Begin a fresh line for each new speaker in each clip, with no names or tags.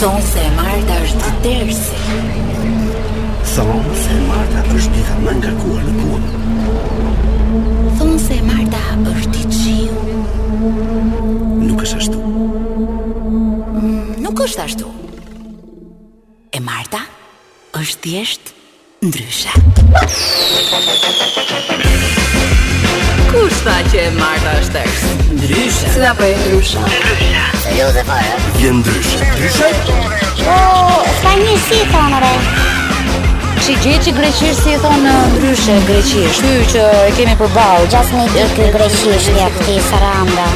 Thonë se e Marta është dërsi
Thonë se Marta është dita më nga kuar në punë
Thonë se e Marta është i qiu
Nuk është ashtu
Nuk është ashtu E Marta është thjesht ndryshe Kush tha që e Marta është dërsi? Ndryshe Si da për e ndryshe?
Je ndryshe Ndryshe?
S'ka një Po, si thonë re
Që gjë që greqisht si e thonë ndryshe greqisht. Ky që e kemi përballë.
Gjas me i ky greqisht ja këti saranda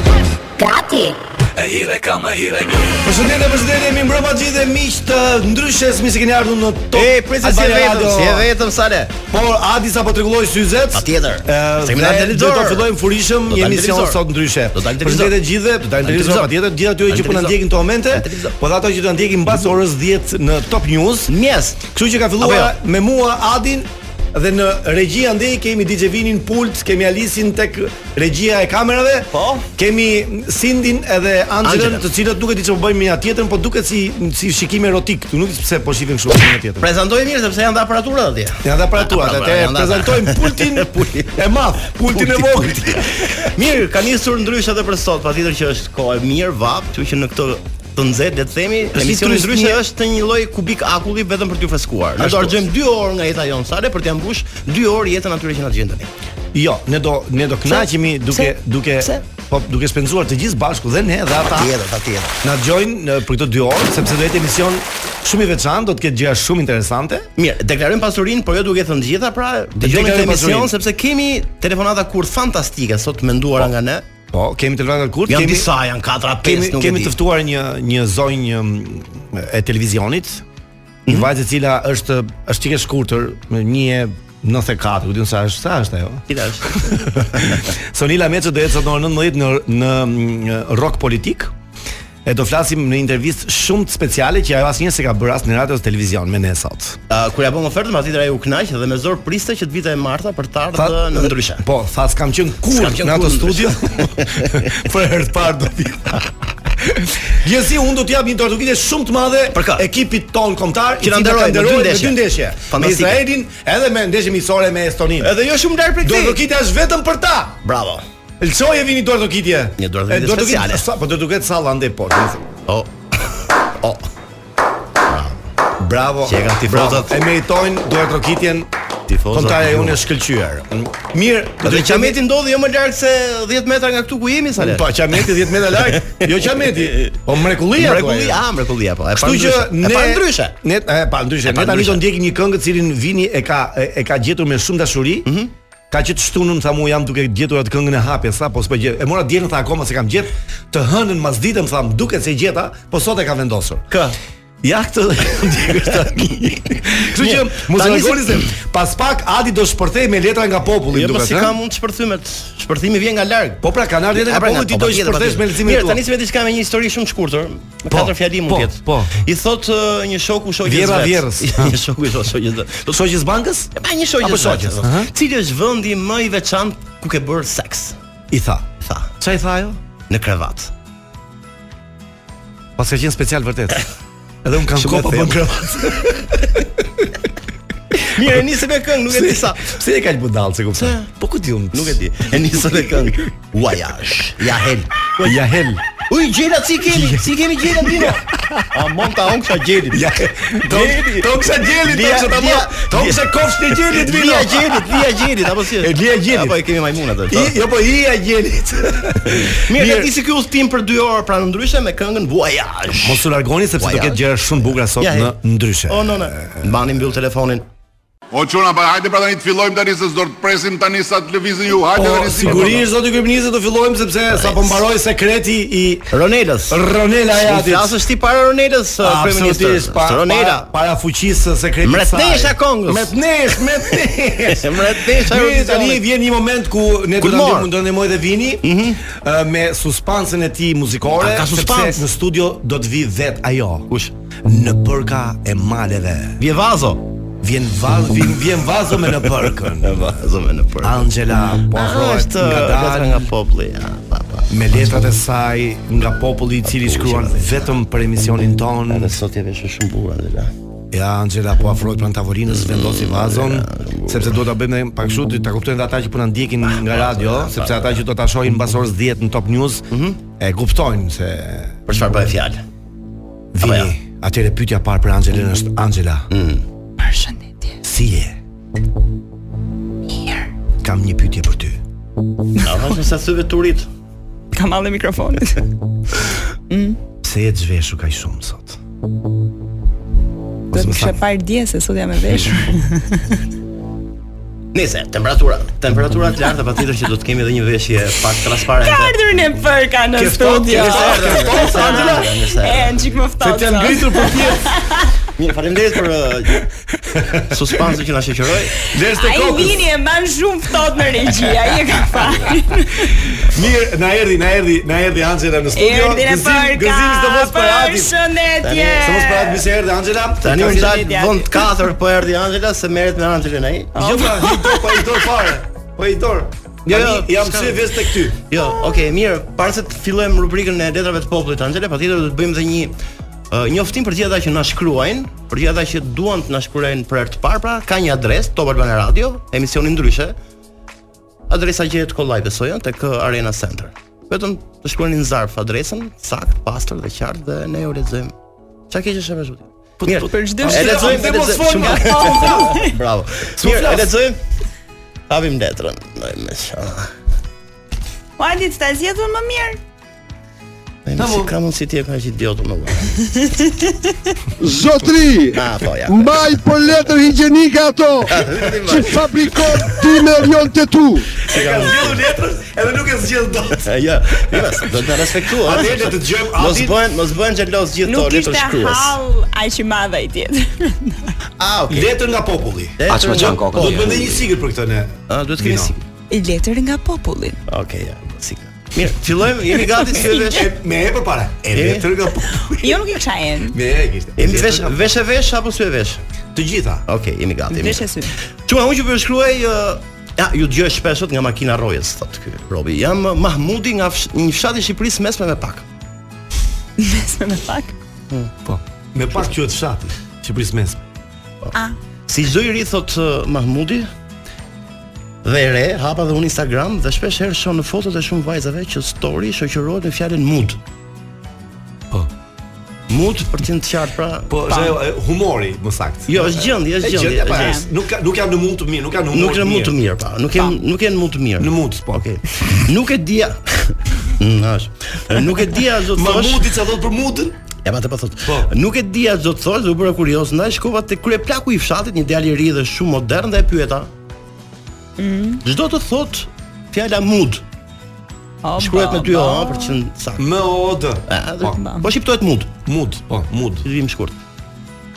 Gati
E hire ka më hire
Përshëndetje, përshëndetje, mi mbrëma gjithë dhe miq të ndryshës, mi se keni ardhur në Top.
E, presi si e
Albania
vetëm,
Radio.
si e vetëm sale.
Por Adi sa po rregulloi syzet.
Patjetër.
Ë,
Se kemi dalë
ne do ta
televizor.
fillojmë furishëm
Do
një
dalë
emision
televizor.
sot ndryshe.
Do dalë televizor.
Përshëndetje gjithë, do
Dalë
dalë televizor
televizor.
patjetër, gjithë atyre që
Dalë
po na
televizor.
ndjekin këto momente,
Dalë televizor.
po dhe ato që do na ndjekin mbas orës 10 në Top News.
Mjes.
Kështu që ka filluar
jo.
me mua Adin dhe në regji andej kemi DJ Vinin pult, kemi Alisin tek regjia e kamerave.
Po.
Kemi Sindin edhe Angelën,
Angelën.
të cilët nuk e di ç'po bëjnë me njëra tjetrën, po duket si si shikim erotik. Tu nuk e di pse po shifin kështu me njëra tjetrën.
Prezantojmë mirë sepse janë dhe aparaturat atje.
Ja dhe aparaturat,
Aparaturat,
atë
janë dhe
prezantojmë
ata.
pultin
pra, Pulti.
e madh, pultin e vogël.
mirë, ka nisur ndryshe edhe për sot, patjetër që është kohë e mirë vap, kështu që në këtë të nxehtë le të themi,
si
emisioni
turist
ndryshe
një-
është të një lloj kubik akulli vetëm për t'ju freskuar. Ne
Ashtu.
do harxojmë 2 orë nga jeta jonë sale për t'ia mbush 2 orë jetën atyre që na dëgjojnë tani.
Jo, ne do ne do kënaqemi duke duke
Pse?
po duke spenzuar të gjithë bashku dhe ne dhe ata.
Patjetër, patjetër.
Na dëgjojnë në- për këto 2 orë sepse do jetë emision shumë i veçantë, do të ketë gjëra shumë interesante.
Mirë, deklarojmë pasurinë, por jo duke thënë të gjitha, pra dëgjojmë këtë
Deklarojmë pasurinë.
emision sepse kemi telefonata kur fantastike sot menduara nga ne.
Po, kemi telefonat kurt,
Janë
kemi
disa, janë 4
kemi
5, nuk
kemi
e di.
të ftuar një një zonjë mm, e televizionit,
Mhm.
një vajzë e cila është është çike shkurtër, me 1.94, u diun sa është, sa është ajo?
Cila është?
Sonila Meçë do jetë sot në orën 19 në në mm, Rock Politik. E do flasim në intervistë shumë të speciale që ajo asnjëherë s'e ka bërë as në radio as televizion me ne sot.
Uh, kur ja bëm ofertën, patjetër ai u kënaq dhe me zor priste që të vite e Marta për të
Tha-
ardhur në ndryshe.
Po, tha s'kam qen kur
S'kam qenë
në ato
kur në
studio. Për herë të parë do vi. Gjithsesi unë do t'jap një tortugite shumë të madhe
Për kë?
ekipit ton kombëtar
Që na nderojnë në dy ndeshje.
dy ndeshje. Me
Fantastike.
Izraelin edhe me ndeshje miqësore me Estoninë.
Edhe jo shumë larg prej këtij.
Dorëdokitja është vetëm për ta.
Bravo.
Lçoj e vini dorëdokitje.
Një dorëdokitje
E, dorëdokitje-
speciale.
Sa, po do duket salla andej po.
O. O.
Bravo.
Që e kanë tifozat.
bravo. E meritojnë dorëdokitjen.
Tifozat.
Kontarja jonë është shkëlqyer. Mirë, do
Po, Dhe
të kemi-
Qameti ndodhi jo më larg se 10 metra nga këtu ku jemi sa le.
Po Qameti 10 metra larg, jo Qameti. Po mrekullia.
Mrekulli,
thua,
a mrekullia po. E
Kështu që
ne
ne
pa ndryshe.
Ne e pa ndryshe. Ne tani
pandryshe.
do ndjekim një këngë të cilin Vini e ka e, e ka gjetur me shumë dashuri.
Mhm.
Ka që të shtunën tha mua jam duke gjetur atë këngën e hapjes sa po s'po gjet. E mora djelën tha akoma se kam gjet. Të hënën mas ditën tha më duket se e gjeta, po sot e ka vendosur.
Kë.
Ja këtë ndjekësh tani. Kështu që
Mirë,
mos
tani si-
largoni se pas pak Adi do shpërthej me letra nga populli
Jo po
duket.
si
ha?
ka mund shpërthymet. Shpërthymi vjen nga larg.
Po pra kanë ardhur letra
A,
nga
pra,
populli ti
po,
do
po, tjetër,
shpërthesh
patjetër.
me leximin
Mirë, tani si me diçka me një histori shumë të shkurtër, me
Po,
katër fjali
po,
mund të jetë.
po.
I thot ë, një shoku shoqës
Vjera
vet.
vjerës.
Një shoku i thot shoqës vet. Do
Shoqës bankës?
Pa një shoqë
Apo
të shoqë.
shoqës, aha.
thotë. Cili është vendi më i veçantë ku ke bërë seks?
I tha.
Tha,
Çfarë i tha ajo?
në krevat.
Pas ka qenë special vërtet. Edhe un kam
Shumë e
kopa po
thellë.
krevat.
Mirë, e nisi me këngë, nuk e di sa.
Pse e ka budall se kupton? Po ku di un?
Nuk e di. E nisi me këngë. Voyage. Ja hel.
Ja hel.
Uj, gjela si keni? Si keni gjela Dino? A mund ta on kësa gjelit.
Ja.
Gjeli.
Tomsa gjelit,
Lia-
tomsa tamam.
Lia-
Tomsa kofshë e gjelit vino.
Lia gjelit, lia gjelit, apo si?
E lia gjelit.
Apo e kemi majmun atë.
I, jo po i a gjelit.
Mirë, ne nisi ky udhtim për 2 orë pranë ndryshe me këngën Voyage.
Mos u largoni sepse do ketë gjëra shumë bukura sot
Ja, Oh,
në
ja.
ndryshe.
O, no, no. Mbani mbyll telefonin.
O çuna, pa hajde pra tani të fillojmë tani se s'do të presim tani sa të lëvizin ju. Hajde
Po
tani si-
sigurisht zoti kryeminist do fillojmë sepse sapo mbaroi sekreti i
Ronelës.
Ronela
Ja,
Jadit.
flasësh ti para Ronelës, eh, kryeminist.
Absolutisht pa,
Ronela.
pa, para fuqisë së sekretit të saj.
Mretnesh e Kongës.
Mretnesh, mretnesh.
Mretnesh e
Mirë,
Eurovisionit.
tani vjen një moment ku ne do
Good
ta
morning. Mhm.
ndihmë do ndihmoj dhe Vini ë, me suspansën e tij muzikore,
A ka suspans?
sepse në studio do të vi vet ajo.
Kush?
Në përka e maleve.
Vje vazo.
Vjen vaz, vjen, vjen vazo me në përkën.
vazo me në për.
Angela po
Po
afrohet
është
nga
letra
dalë.
nga populli. Ja, pa, pa.
me letrat e saj nga populli i cili shkruan vetëm për emisionin ton.
Edhe sot jep është shumë bukur Angela.
Ja, Angela po afrohet pranë tavolinës, vendosi vazon, sepse do ta bëjmë pak kështu, ti ta kuptojnë dhe ata që po na ndjekin nga radio, sepse ata që do ta shohin mbas orës 10 në Top News, e kuptojnë se
Për çfarë bëhet fjalë?
vini.
ja.
Atëre pyetja e parë për Angelën është Angela,
Përshëndetje.
si je?
Mirë.
Kam një pyetje për ty.
Na vazhdon sa syve turit.
Ka mallë mikrofonit.
Pse je zhveshur kaq shumë sot?
Do të kishe parë dje se sot jam e veshur.
Nëse temperatura, temperatura të larta patjetër që do të kemi edhe një veshje pak transparente.
Ardhurin e përka në
Ke ftohtë,
studio.
ke ftohtë,
Nëse erdhe, nëse erdhe, nëse
E,
erdhe.
në qikë më
Se
ftohtë.
të janë
sot.
ngritur për tjerë.
Mirë, faleminderit për uh, suspansin që na shoqëroi.
Ders te
Ai
kokës.
vini e mban shumë ftohtë në regji, ai e ka parë.
Mirë, na erdhi, na erdhi, na erdhi Angela në studio.
Erdhin e përka.
Jo, gëzim s'do mos parati.
Përshëndetje.
Se mos parati mi se erdhi Angela.
Tani
Ka
unë
qenë-
dal
djali.
vend 4 po erdhi Angela se merret me Angelën ai.
Jo, pra, hitor, po hitor fare. Po hitor. Jo, jo, jam
s'ka-
sy vetë tek ty.
Jo, okay, mirë, para se të fillojmë rubrikën e letrave të popullit Angela, patjetër do të bëjmë edhe një uh, njoftim për gjithë ata që na shkruajnë, për gjithë ata që duan të na shkruajnë për herë të parë, pra ka një adresë Top Albana Radio, emisioni ndryshe. Adresa gjehet kollaj besoj ëh, tek uh, Arena Center. Vetëm të shkruani në zarf adresën, sakt, pastër dhe qartë dhe ne u lexojmë. Çka keq është apo zoti? Mirë,
Po, për çdo
e
gjë,
lexojmë,
dhe
e
mos
lexojmë.
fol,
shumë
ma.
mirë. Bravo. Mirë,
flas.
e lexojmë. Hapim letrën. Në mes. ah.
Hajde të ta zgjedhun më mirë.
Ai
Tamo.
si ka mundsi ti Po, e ka që idiotu më vonë.
Zotri,
Ah, po ja.
mbaj për letër higjienike ato që fabrikon ti me avion të tu.
E ka zgjedhur letrën, edhe nuk e zgjedh dot.
Ja, Imas, do të na respektuo. ha?
Atëherë le të dëgjojmë
Mos
Adin.
bëhen, mos bëhen xhelos gjithë
Nuk
to letër
ishte
shkruas.
hall aq i madh ai tjetër.
Ah, okay.
Letër nga populli.
A çfarë gjan
Do të bëndë një sigër për këtë ne.
po, jo. Ah, duhet të kemi
Vino.
si.
I letër nga populli.
Okej, ja, si. Mirë, fillojmë, jemi gati si e vesh.
E, me e përpara. E
E?
letër nga populli.
Jo nuk i kisha en.
Me e kishte.
Jemi
Letër
vesh,
nga- po-
vesh e vesh apo sy e vesh?
Të gjitha.
Okej, jemi gati. jemi
Vesh e
gati.
sy.
Çuna unë që po ju shkruaj ë, Ja, ju dëgjoj shpesh sot nga makina rrojës, thotë ky Robi. Jam ë, Mahmudi nga fsh- një fshat i Shqipërisë mesme me pak.
Besme me pak.
Po. Me pak qytet fshati. Shqipëris mes.
Si çdo i ri thot uh, Mahmudi dhe e re hapa dhe unë Instagram dhe shpesh herë shoh në fotot e shumë vajzave që story shoqërohet me fjalën mood.
Po.
Mood për të qenë të qartë pra.
Po, është ajo e, humori, më saktë.
Jo, është gjendje,
E
është
gjendja,
gjendje.
pa,
është
është- Nuk ka nuk jam në mund të mirë, nuk jam në
gjendje.
humor.
Nuk në mood të mirë pa. Nuk jem nuk jem në mood të mirë.
Në mood, po.
Okej. Nuk e dia. Nash. Nuk e dia do të thosh.
Mahmudi çfarë thot për mudën?
Ja pa të pa thot.
Po.
Nuk e dia ç'do të thosh, do u bëra kurioz, ndaj shkova te kryeplaku i fshatit, një djalë i ri dhe shumë modern dhe e pyeta. Mm. Ç'do të thot fjala mood?
O, po.
Shkruhet
ba,
me dy
ba.
o ha, për të qenë saktë.
M O D.
A,
Po,
dhe- Po shqiptohet mood,
mud, po, mud.
ti vim shkurt.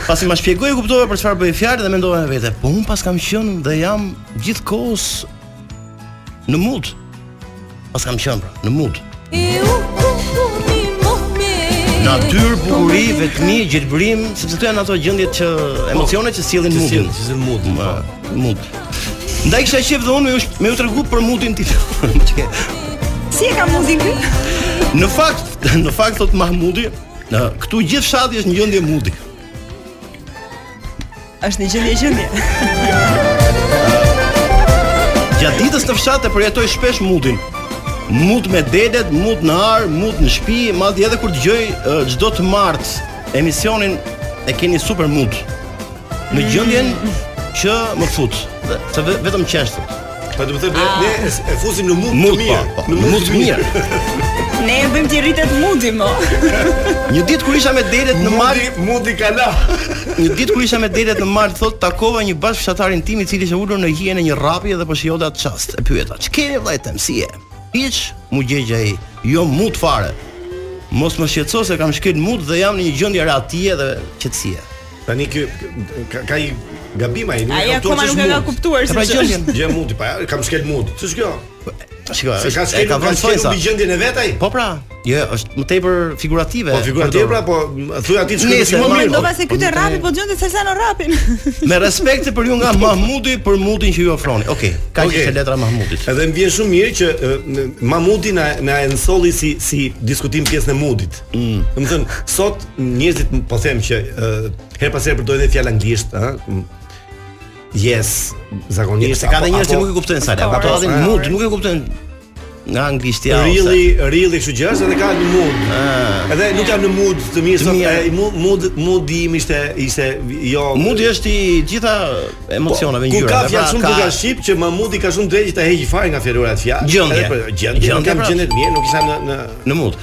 Pasi ma shpjegoi e kuptova për çfarë bëi fjalë dhe mendova me vete, po un pas kam qenë dhe jam gjithkohës në mood. Pas kam qenë pra, në mood. Natyrë, bukuri, vetmi, gjelbërim, sepse këto janë ato gjendjet që emocionet Po. që sjellin
Që
moodin.
sjell, që sjell mudin, po.
Ma, Mood. Ndaj kisha qef dhe unë me ju sh- me ju tregu për moodin tim. Çka?
Si e ka mundin ky?
Në fakt, në fakt thot Mahmudi, në këtu gjithë fshati është në gjendje mudi.
Është një gjendje gjendje.
Gjatë ditës në fshat e përjetoj shpesh mudin. Mut me delet, mut në ar, mut në shtëpi, madje edhe kur dëgjoj eh, çdo të martë emisionin e keni super mut. Në gjendjen që më fut, dhe- se ve- vetëm qeshtë.
Po do të
Ah.
thënë ne e fusim në mud të
Mut pa,
mirë.
pa, në mut po. të mirë.
Ne e bëjmë ti rritet mudi mo.
Një ditë kur isha me delet në mal,
Mudi, mudi ka la.
Një ditë kur isha me delet në mal, thot takova një bash fshatarin tim i cili ishte ulur në hijen e një rrapi dhe po shijonte atë çast. E pyeta, "Ç'ke vllai tem, si je?" Hiç, mu gjegj ai, "Jo mut fare." Mos më shqetëso se kam shkel mut dhe jam në një gjendje rahatie dhe qetësie.
Tani ky ka ka i gabim ai, nuk
Ai
e kupton që
akoma nuk
është
e ka
mud.
kuptuar
pra
si
gjendjen.
është.
Gjë mudi, pa ja, kam shkel mud. Ç'është kjo?
Shiko,
Se ka
është- e
skenën,
ka
ka
vënë
skenën
Sojsa.
mbi gjendjen e vetaj.
Po pra, jo, është më tepër figurative.
Po figura
përdor.
tjera, po thuaj atit shkruaj
Nëse,
si më
ma-
mirë.
do-
Mendova se ky të rapi, po dëgjonte se sa në rapin.
pra-
Me respekt për ju nga Mahmudi për mundin që ju ofroni. Okej, ka
Okej.
okay. që letra Mahmudit.
Edhe më vjen shumë mirë që e, n- Mamudi na na e nsolli si si diskutim pjesën e mudit. Mm. Domethënë, sot njerëzit m- po them që e, her pas here përdojnë dhe fjalë anglisht, ëh. m- Yes, zakonisht.
Se ka
apo-
dhe njerëz që
apo-
nuk e kuptojnë sa.
Of
Ato
course.
adhin mund, nuk e kuptojnë nga anglishtja
Really, really kështu gjë është edhe ka në mood. Edhe nuk jam në mood të mirë sot.
Ah. mirë.
e, mu- Mood moodi im ishte ishte jo
Mudi është i gjitha emocionave
Ku
ngjyrave.
ka
pra,
fjalë shumë buka shqip që Mamudi ka shumë drejtë ta heqë fare nga fjalorat fjalë.
Gjendje.
Edhe për- Gjendje. Nuk
Gjendje,
kam
pra.
gjendje të mirë, nuk isha në në
në mund.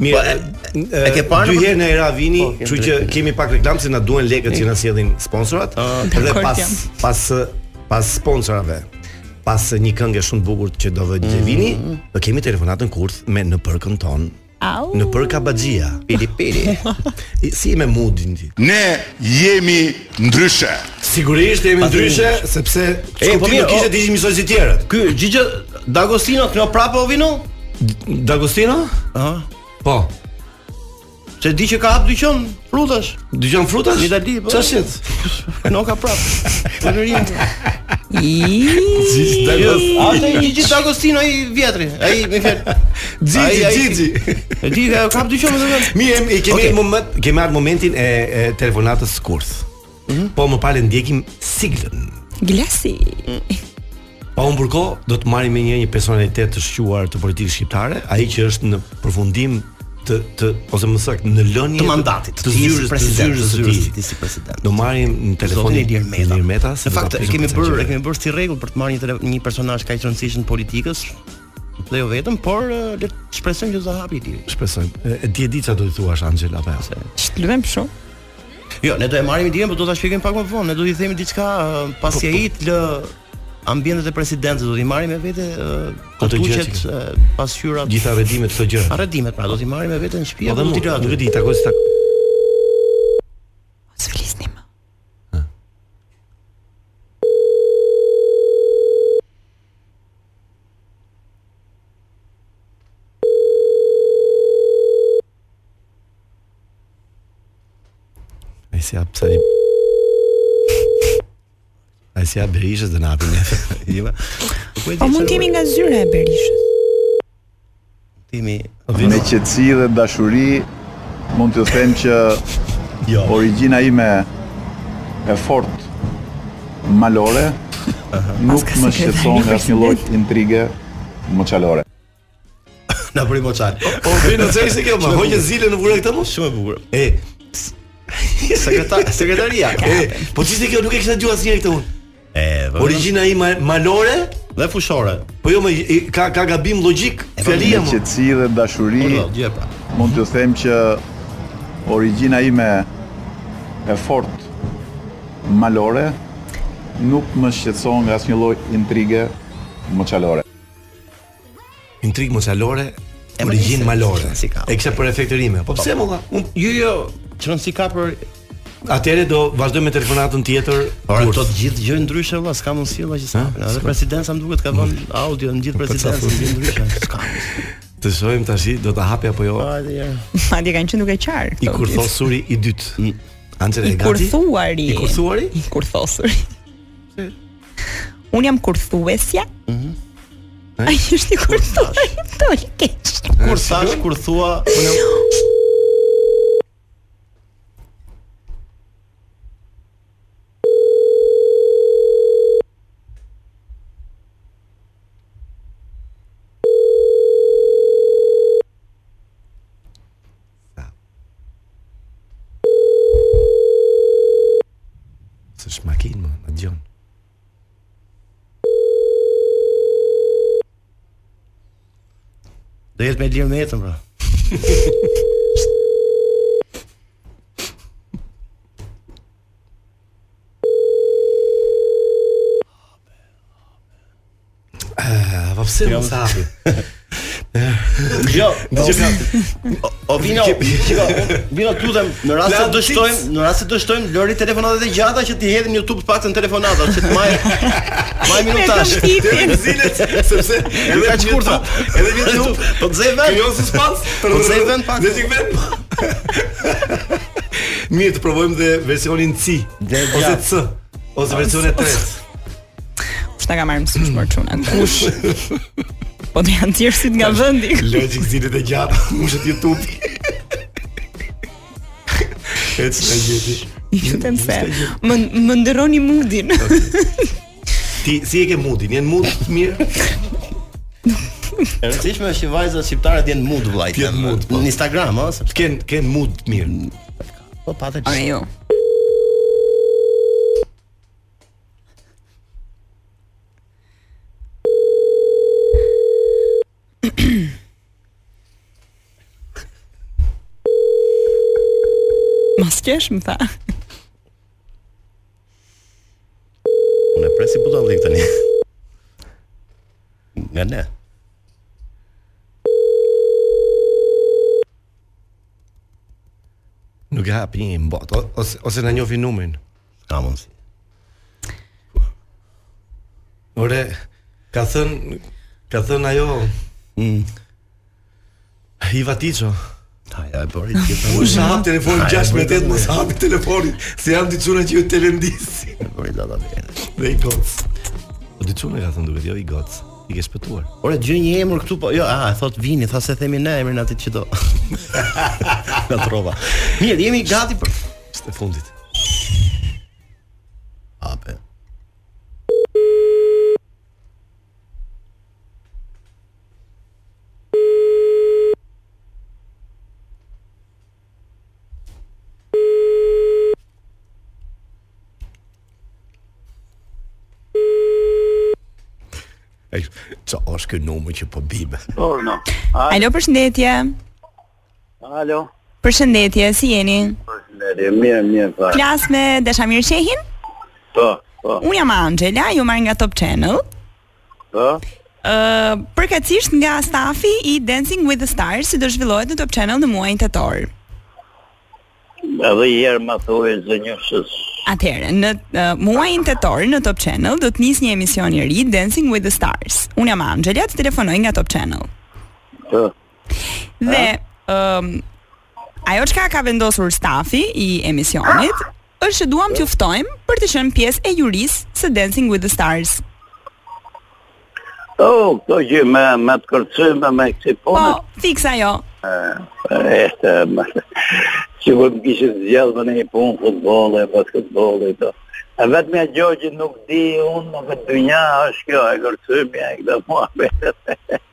mirë.
Po, e-
e,
e ke parë
dy
në-
herë në Eravini,
Po, kemi
kështu që
drejtë.
kemi pak reklam se na duhen lekët që na sjellin sponsorat.
Ah,
Edhe
dakord
pas
jam.
pas pas sponsorave pas një këngë shumë bukur që do vë Gjevini,
Mm.
do kemi telefonatën kurth me në përkën ton,
Au.
në për Kabaxhia.
Pili pili.
I- Si me mudin ti?
Ne jemi ndryshe.
Sigurisht jemi ndryshe sepse
E, po
skuptimi
mirë,
kishte
o-
të ishim mësoj si tjerët.
Ky Gjigjo D'Agostino këno prapë o vino?
D'Agostino?
Aha.
Po.
Se di që ka hap dyqan frutash.
Dëgjon frutash?
Në Itali, po.
Çfarë shit?
Këno ka prapë. Punëria.
Xhix
A është ai Gjigjo D'Agostino ai vjetri? Ai më fal. Ai- ai- E di ka ka hap dyqan më vonë.
Mirë, e kemi
Okej.
moment, kemi atë momentin e, e telefonatës kurth. Po më parë ndjekim siglën.
Glasi.
Pa unë burko, do të marrim me një një personalitet të shquar të politikës shqiptare, ai që është në përfundim të të ose më saktë në lënie
Të mandatit,
të
ti si
zyrës të
president,
zyrës
të
së
zyrës
tij.
të ti si president.
Do marrim në telefon
Zotin Ilir Meta.
Ilir Meta. se
Në
do ta
fakt e
presim
kemi
për të
bërë e
qenë.
kemi bërë si rregull për të marrë një, tele- një personazh kaq të rëndësishëm të politikës dhe jo vetëm, por eh, le të shpresojmë që do ta hapi ti.
Shpresojmë. E- e Ti e di çfarë do të thuash Angel apo jo?
Shtluvem shumë.
Jo, ne do e marrim ideën, por do ta shpjegojmë pak më vonë. Ne do t'i themi diçka eh, pasi
Po,
ai të lë ambientet e presidencës do t'i marrim me vete eh,
Ato gjëra
kartuqet,
që
eh, pasqyrat,
Gjitha redimet këto gjëra.
arredimet, pra do t'i marrim me vete në shtëpi
Po dhe
apo do t'i
mua,
lë.
nuk e um di, takoj si takoj.
Mos flisni më.
Ah. Ai si hap sali. Ai si hap berishës dhe na hapin neve.
Jeva.
é
Po
Po mund të jemi nga zyra e Berishës.
Timi.
Me qëtësi dhe dashuri mund t'ju them që
Jo.
origjina ime e fort malore nuk
Paska
më
sekretari
shqetëson nga asnjë lloj
president.
intrige moçalore.
Na bëri moçal.
Po vinë të çajse kjo, më hoqë zile në vure këtë mos.
Shumë e bukur.
E,
Sekretar, sekretaria.
e, po çishte kjo nuk e kisha dëgjuar asnjëherë këtë unë.
E, origjin
Origjina ime malore,
dhe fushore.
po jo më i- ka ka gabim logjik,
Me
fjalia më.
qëtësi dhe dashuri
Po, gjë pra.
mund t'ju them që origjina ime e fort malore nuk më shqetëson nga asnjë lloj intrige moçalore.
Intrig mosalore,
E, më
origjinë
nisi,
malore.
si ka.
E kisha për efekt të rime. Po pse molla? Unë
Jo, jo, çon si ka për
atëre do vazhdoj me telefonatën tjetër.
Ora
kur-
këto të gjithë gjë ndryshe vëlla, s'ka mundësi vëlla që s'ka. Mm. Po,
Ha?
Edhe presidenca më duket ka vënë audio në gjithë presidencën gjë ndryshe, s'ka.
Të shohim tash do ta hapi apo jo.
Hajde ja.
Madje kanë qenë duke qarë.
I
këto
kurthosuri
gjithë.
suri i dytë. Angela e
I
gati.
kurthuari.
I kurthuari?
I kurthosuri. Unë jam kurthuesja. Mhm. Ai është i kurthuari. Dol keq.
Kur thash, kur thua, unë
S'është makinë, më, na dëgjon.
do jetë me lirë me jetën pra.
Eh, A po pse mos hapi?
Jo, që ka. O, o vino, çka, vino lutem, në rast se
Plan
dështojmë, në rast se dështojmë Lori telefonatat e gjata që ti hedhim në YouTube të paktën telefonata që të maj maj
Po
minutash.
Zilet, sepse
Ju ka shkurtë.
Edhe vjen tu.
Po të zej vend.
Krijon si spas.
Po të zej vend pak.
Dhe ti vend. Mirë, të provojmë dhe versionin C
Dhe
ose
gjatë.
C ose versionin 3.
Kush ta ka marrë mësues për çuna? Kush? Po të janë tjerësit nga vendi.
Logic zilet e gjata, mushet YouTube. Ec na gjeti.
Lutem se. Më më ndërroni moodin.
Ti si e ke mudin? Jen mud mirë.
E rëndësishme është që vajzat shqiptare të jenë mood vllai.
Të jenë
them,
mood, po.
Në Instagram, ëh, sepse
Ken ken mud mirë.
po patet.
Ore jo. Mas kesh më tha
Unë e presi budallik tani. Nga ne.
Nuk e hap një mbot o- ose ose na njofi numrin.
Ka mundsi.
Ore, ka thën ka thën ajo
Mm.
Iva Tiço.
Ta ja e bëri gjithë.
U sa hap telefonin 6 me 8 mos hapi telefonin, se janë diçuna që ju telendisi.
Bëri data vjetër.
Dhe i goc. Po diçuna ka thënë duket, jo i goc. I ke shpëtuar.
Ore gjë një emër këtu po. Jo, a, thot vini, tha se themi ne emrin atit që do. Na trova. Mirë, jemi gati për
Së fundit.
Ape.
Ai, ça është ky numër që po bime?
Orno.
Alo përshëndetje
Alo.
Përshëndetje, si jeni?
Përshëndetje, mirë, mirë, pa.
Flas me Dashamir Shehin
Po, po,
Unë jam Angela, ju marr nga Top Channel
po.
Ë, përkatësisht nga stafi i Dancing with the Stars që do zhvillohet në Top Channel në muajin tetor.
Edhe i herë ma thuaj zënjushës.
Atëherë, në uh, muajin tetor në Top Channel do të nisë një emision i ri Dancing with the Stars. Unë jam Angela, të telefonoj nga Top Channel.
Po,
Dhe ëm ajo çka ka vendosur stafi i emisionit është që duam t'ju ftojmë për të qenë pjesë e jurisë së Dancing with the Stars.
o, këto gjë me, me të kërcyme, me kësi
Po,
punët.
fiks ajo.
E, të, më, sigur më kishë zgjellë me një punë futbolle, basketbolle, to. E vetëm ja gjë nuk di unë në këtë dynja është kjo e kërcymja e këtë mua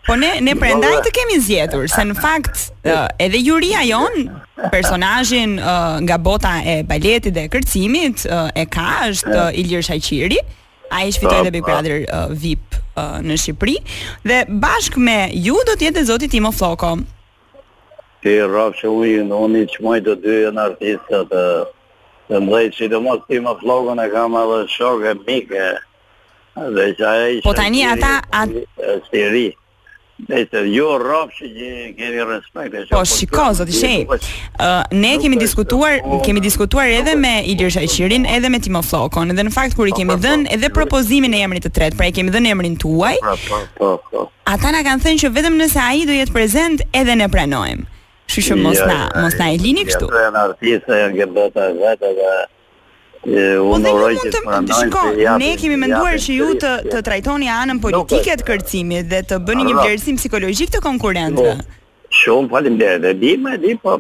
Po ne ne prandaj të kemi zgjetur se në fakt ë, edhe juria jon personazhin ë, nga bota e baletit dhe kërcimit ë, e ka është ë, Ilir Shaqiri. Ai shfitoi uh, edhe Big Brother ë, VIP ë, në Shqipëri dhe bashkë me ju do të jetë edhe zoti Timo Floko.
Ti rrafë që ujë në unë i qmoj të dy në artistët të, të mdhejtë që të mos ti më flogën e kam edhe shokë e mike dhe që aja ishë
Po tani ata-
Si ri Dhe të ju rrafë që gjë- keni respekt e që
Po
po
shiko
të-
zoti Shej.
Po,
Ë ne
nuk
kemi
është-
diskutuar,
po,
kemi diskutuar edhe
nuk
me Ilir Shaqirin, edhe me Timo Flokon, dhe në fakt kur i kemi
po,
dhënë
po.
edhe propozimin e emrit të tretë, pra i kemi dhënë emrin tuaj,
pra, Po, po, po
ata na kanë thënë që vetëm nëse ai do jetë prezent edhe ne pranojmë. Kështu që mos na mos na e lini kështu.
Ja, janë artistë, janë ke bota e vetë dhe e,
Po
unë
dhe ju
uroj që të
mund të
pranojnë
shiko,
se japin-
ne kemi menduar
japin
që ju të
sërish,
të trajtoni anën
Nuk
politike
është.
të kërcimit dhe të bëni një
Arra.
vlerësim psikologjik të
Po,
konkurrentëve.
Shumë faleminderit. E di, më e di, po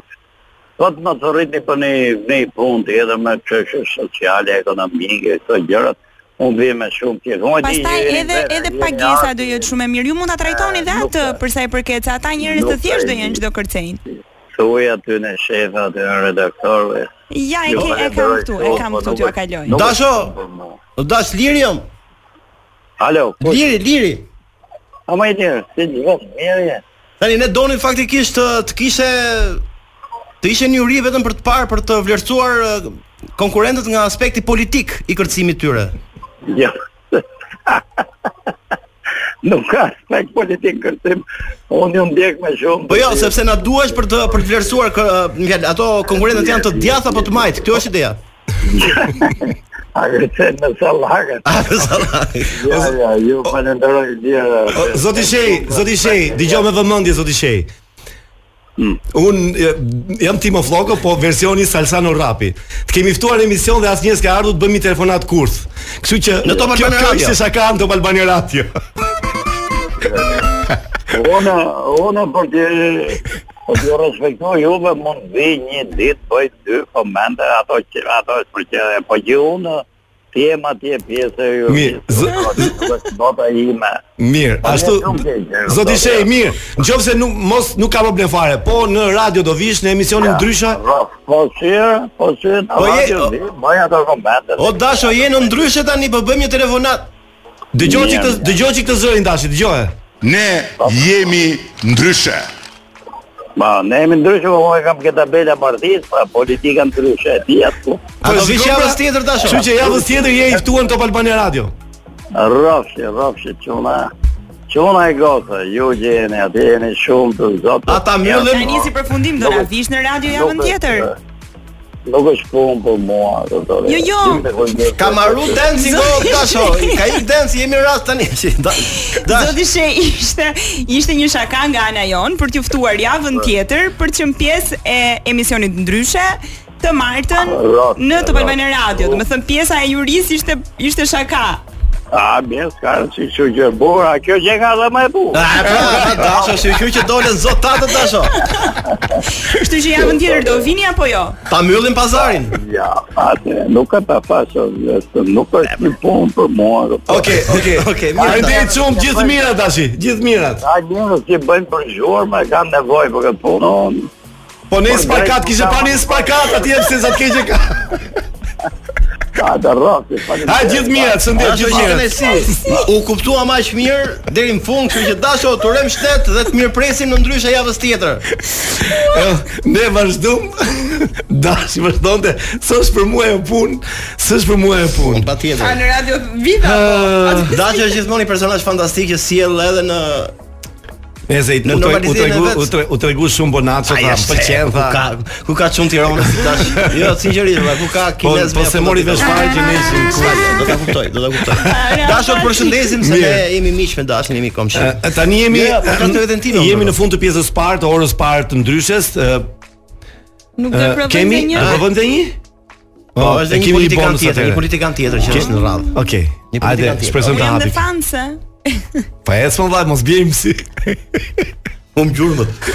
po të më të rritni për një, një punë të edhe me çështje sociale, ekonomike, këto gjërat, unë vi me shumë tjetër. Unë e di,
Pastaj
jeni
edhe
vetë,
edhe
jeni
pagesa do
arti,
jetë shumë e mirë. Ju mund ta trajtoni dhe
Eh, nuk
atë
ka.
për sa i përket se ata njerëz të
Nuk
thjeshtë do
ka
jenë
ide.
çdo kërcejnë.
Thuaj aty në shefa, aty në redaktorëve.
Ja, e,
Jo,
ke, e
e
kam
dëroj,
këtu, e
jo,
kam
po,
këtu
nuk
t'ju
është-
akaloj.
nuk-
Dasho,
Po, mo.
dash lirium.
Alo, po,
Liri, liri.
a më i lirë, si gjithë, mirë je.
Tani ne donim faktikisht të, të kishe të ishe një uri vetëm për të parë për të vlerësuar eh, konkurrentët nga aspekti politik i kërcimit tyre.
Jo. nuk ka aspekt politik kërcim. Unë ju ndjek me shumë.
Po jo, sepse na duhesh për të për të vlerësuar kë, mjall, ato konkurrentët janë të djathtë apo të majt. Kjo është ideja.
A kërcen me sallakët.
A sallakët.
Ja, ja, ju falenderoj djera.
O, Zoti Shej, Zoti Shej, dëgjoj me vëmendje Zoti Shej.
Hmm.
Mm. Un e, jam Timo Floko, po versioni Salsano Rapi. Të kemi ftuar në emision dhe asnjë s'ka ardhur të bëjmë një telefonat kurth. Kështu që
Në Top Albania
kjo
Radio.
ishte shaka në Top Albania Radio.
Unë, unë për të Po ju respektoj juve mund vi një ditë bëj dy komente ato që ato është për që po ju unë ti jem atje pjesë e ju.
Mirë, z-
bota ime.
Mirë,
Po,
ashtu
nuk e gjej,
Zoti
nuk e
Shej,
gjej.
mirë. Nëse nuk mos nuk ka problem fare, po në radio do vish në emisionin ndryshe.
Ro- Po si, po si,
Po je- o-
bëj ato komente.
O dasho jenë ndryshe tani, po bëjmë një telefonat.
Dëgjoj çik të
Mirë.
dëgjoj çik të zërin dashi, dëgjoj.
Ne jemi ndryshe.
Ma, ne jemi ndryshe, po unë kam këtë tabela partisë, pa politika pra, ndryshe e po. tij atë.
Ato
zgjoj,
vish
pra.
javës tjetër dasho.
Kështu që javës tjetër je i ftuar në Top Albania Radio.
Rrofshi, rrofshi, çuna. Çuna e gotë, ju gjeni, atë jeni shumë të zotë.
Ata
Ka
mbyllën
nisi përfundim do na vish në radio javën tjetër.
Nuk është punë për mua, doktore.
Jo, jo.
Ka marru dancing o
Zoti
dasho. Ka i dance jemi në rast tani. Si, da- Dash.
Zoti She ishte ishte një shaka nga ana jon për t'ju ftuar javën tjetër për të qenë pjesë e emisionit ndryshe të martën
Ah,
Rrot,
në Top
rrot.
Albana Radio. Do të thënë pjesa e juris ishte ishte shaka.
A, mirë, s'ka si që gjë bura, kjo gjë ka dhe më e bukur.
Ah, pra, dasho, si kjo që dolën zot tatë dasho.
Kështu që javën tjetër do vini apo jo?
Ta mbyllin pazarin.
Ja, atë nuk e ta fashë, nuk është një punë për mua. doktore.
Okej, okej, okej.
mirë.
Faleminderit shumë, gjithë mirat dashi, gjithë mirat.
Ka njerëz që bëjnë për zhurmë, kanë nevojë për këtë punë. unë-
Po ne
Po,
sparkat
drejt,
kishe
nuk
pa
kam-
ne sparkat atje pse sa të keqe ka.
Ka të rrosi,
Ha gjithë mirat, shëndet
Dasho
gjithë
Po, që
mirat.
si. U kuptuam aq mirë deri në fund, kështu që dasho turem shtet dhe të mirëpresim në ndryshe javës tjetër.
Eh, Ne vazhdum. Dashi vazhdonte, s'është për mua e punë, s'është për mua e punë.
A
Patjetër.
në radio po. vida
Eh,
Dasho është gjithmonë një personazh fantastik që sjell edhe në
Nëse i-
Në
u tregu u
normalizimin
tregu
e vet.
u tregu, u tregu shumë bonaço
Ai
tha,
është
pëlqen
ku
tha.
ka ku ka çun Tiranë si tash. Jo, sinqerisht, valla, ku ka
Po
kinez
po se mori vesh fare që ne ishim ku.
Do ta kuptoj, do ta kuptoj. Dasho të përshëndesim se ne
Mirë.
jemi miq me Dashin, jemi komshi.
Eh, Tani jemi
Ja, po, ka të vetën time,
jemi
unë,
në fund të pjesës së parë të orës së parë të ndryshes. eh,
Nuk do
eh,
provojmë
Kemi,
një.
e provojmë të një?
Po,
Oh,
është
e
dhe një
kemi
politikan
bonus
tjetër,
atëherë.
një politikan tjetër që është në radhë.
Okej.
Një politikan
Hajde,
tjetër.
shpresojmë
Unë
ta
jam dhe
hapim.
fanse.
Po ecëm vllaj, mos bjejmë si.
Hum gjurmët.